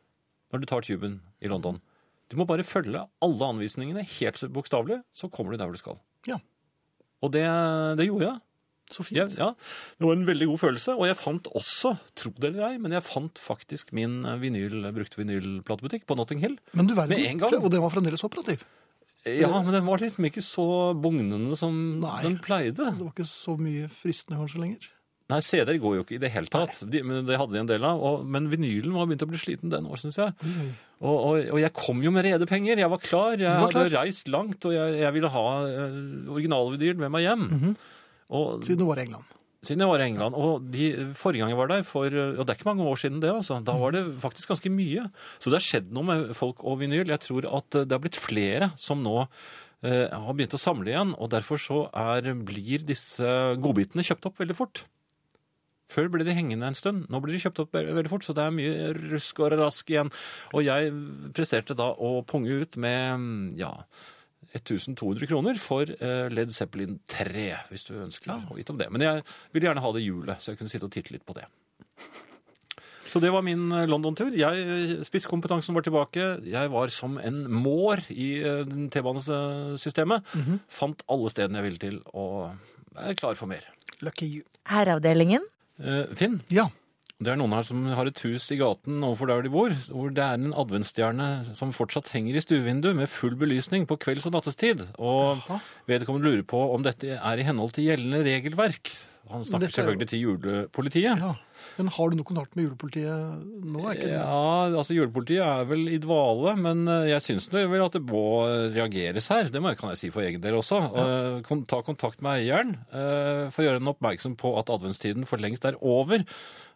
Speaker 2: når du tar tuben i London. Du må bare følge alle anvisningene helt bokstavelig, så kommer du der hvor du skal.
Speaker 1: Ja.
Speaker 2: Og det, det gjorde jeg.
Speaker 1: Så
Speaker 2: Ja,
Speaker 1: fint.
Speaker 2: ja, det var en veldig god følelse. Og jeg fant også, tro det eller ei, men jeg fant faktisk min eh, vinyl, brukte vinylplatebutikk på Notting Hill.
Speaker 1: Men du verden,
Speaker 2: Med en gang.
Speaker 1: og den var fremdeles operativ.
Speaker 2: Ja, men den var liksom ikke så bugnende som
Speaker 1: Nei.
Speaker 2: den pleide.
Speaker 1: Det var ikke så mye fristende kanskje lenger.
Speaker 2: Nei, CD-er går jo ikke i det hele tatt. De, men det hadde de en del av. Og, men vinylen var begynt å bli sliten den år, syns jeg. Og, og, og jeg kom jo med rede penger. Jeg var klar. Jeg
Speaker 1: var
Speaker 2: hadde reist langt, og jeg, jeg ville ha eh, originalvinyl med meg hjem.
Speaker 1: Mhm.
Speaker 2: Og
Speaker 1: Siden du var i England.
Speaker 2: Siden jeg var i England, og de, forrige gang jeg var der, for, og det er ikke mange år siden det, altså, da var det faktisk ganske mye. Så det har skjedd noe med folk og vinyl. Jeg tror at eh, det har blitt flere som nå eh, har begynt å samle igjen, og derfor så er, blir disse godbitene kjøpt opp veldig fort. Før ble de hengende en stund, nå blir de kjøpt opp ve- veldig fort, så det er mye rusk og rask igjen. Og jeg presterte da å punge ut med, ja, 1200 kroner for eh, Led Zeppelin 3, hvis du ønsker å vite om det. Men jeg ville gjerne ha det i hjulet, så jeg kunne sitte og titte litt på det. Så det var min eh, London-tur. Jeg, eh, Spisskompetansen var tilbake. Jeg var som en mår i eh, den T-banesystemet. Fant alle stedene jeg ville til, og er klar for mer.
Speaker 1: Lucky you.
Speaker 3: Herreavdelingen.
Speaker 2: Eh, Finn,
Speaker 1: Ja.
Speaker 2: det er noen her som har et hus i gaten overfor der de bor, hvor det er en adventsstjerne som fortsatt henger i stuevinduet med full belysning på kvelds- og nattestid. Og vedkommende lurer på om dette er i henhold til gjeldende regelverk. Han
Speaker 1: Dette er
Speaker 2: snakker
Speaker 1: jo-
Speaker 2: selvfølgelig til julepolitiet. Ja.
Speaker 1: ja. Men har du noe kontakt med julepolitiet nå? Er ikke det?
Speaker 2: altså Julepolitiet er vel i dvale, men eh, jeg syns nå vel at det må reageres her. Det må, kan jeg si for egen del også. Eh, kon- Ta kontakt med eieren eh, for å gjøre den oppmerksom på at adventstiden for lengst er over.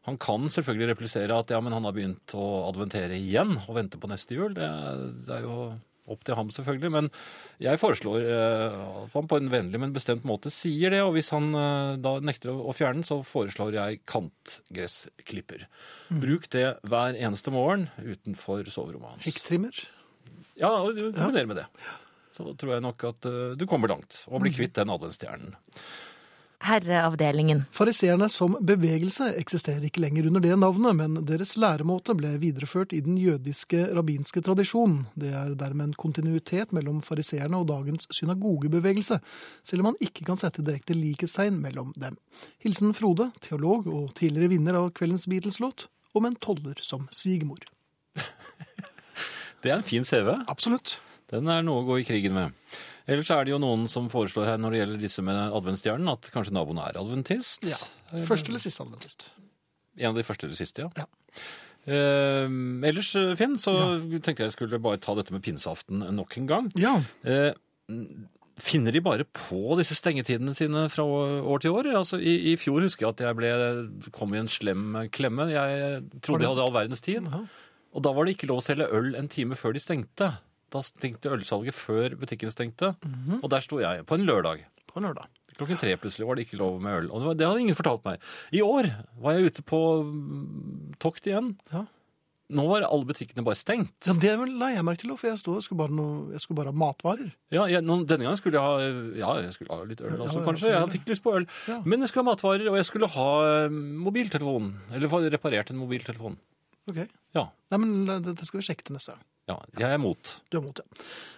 Speaker 2: Han kan selvfølgelig replisere at ja, men han har begynt å adventere igjen og vente på neste jul. Det er, det er jo opp til ham selvfølgelig, men jeg foreslår eh, at han på en vennlig, men bestemt måte sier det, og hvis han eh, da nekter å å fjerne den, så foreslår jeg kantgressklipper. Bruk det hver eneste morgen utenfor soverommet hans.
Speaker 1: Hekktrimmer?
Speaker 2: Ja, og du kombinerer med det. Så tror jeg nok at eh, du kommer langt og blir kvitt den adventsstjernen.
Speaker 3: Herreavdelingen.
Speaker 1: Fariseerne som bevegelse eksisterer ikke lenger under det navnet, men deres læremåte ble videreført i den jødiske rabbinske tradisjonen. Det er dermed en kontinuitet mellom fariseerne og dagens synagogebevegelse, selv om man ikke kan sette direkte likhetstegn mellom dem. Hilsen Frode, teolog og tidligere vinner av kveldens Beatles-låt, om en toller som svigermor.
Speaker 2: Det er en fin CV.
Speaker 1: Absolutt.
Speaker 2: Den er noe å gå i krigen med. Ellers er det jo noen som foreslår her når det gjelder disse med adventsstjernen, at kanskje naboen er adventist.
Speaker 1: Ja. Første eller siste adventist.
Speaker 2: En av de første eller siste, ja.
Speaker 1: Ja.
Speaker 2: Eh, ellers, Finn, så tenkte jeg skulle bare ta dette med pinseaften nok en gang.
Speaker 1: Ja.
Speaker 2: Eh, finner de bare på disse stengetidene sine fra å- år til år? Altså, i, I fjor husker jeg at jeg ble, kom i en slem klemme. Jeg
Speaker 1: Var
Speaker 2: trodde
Speaker 1: det-
Speaker 2: jeg hadde all verdens tid.
Speaker 1: Jaha.
Speaker 2: Og da var det ikke lov å selge øl en time før de stengte. Da stengte ølsalget før butikken stengte. Og der sto jeg på en lørdag.
Speaker 1: På en lørdag.
Speaker 2: Klokken tre plutselig var det ikke lov med øl. Og det, var, det hadde ingen fortalt meg. I år var jeg ute på mm, tokt igjen.
Speaker 1: Ja.
Speaker 2: Nå var alle butikkene bare stengt.
Speaker 1: Ja, det la jeg merke til, for jeg, stod, jeg, skulle bare noe, jeg skulle bare ha matvarer.
Speaker 2: Ja, jeg, nå, denne gangen skulle jeg ha, ja, jeg skulle ha litt øl også,
Speaker 1: ja,
Speaker 2: kanskje. Jeg fikk lyst på øl.
Speaker 1: Ja.
Speaker 2: Men jeg skulle ha matvarer, og jeg skulle ha eh, mobiltelefon. Eller få reparert en mobiltelefon.
Speaker 1: Ok.
Speaker 2: Ja,
Speaker 1: Nei, men dette skal vi sjekke til neste gang.
Speaker 2: ja jeg er mot.
Speaker 1: Du er mot, ja.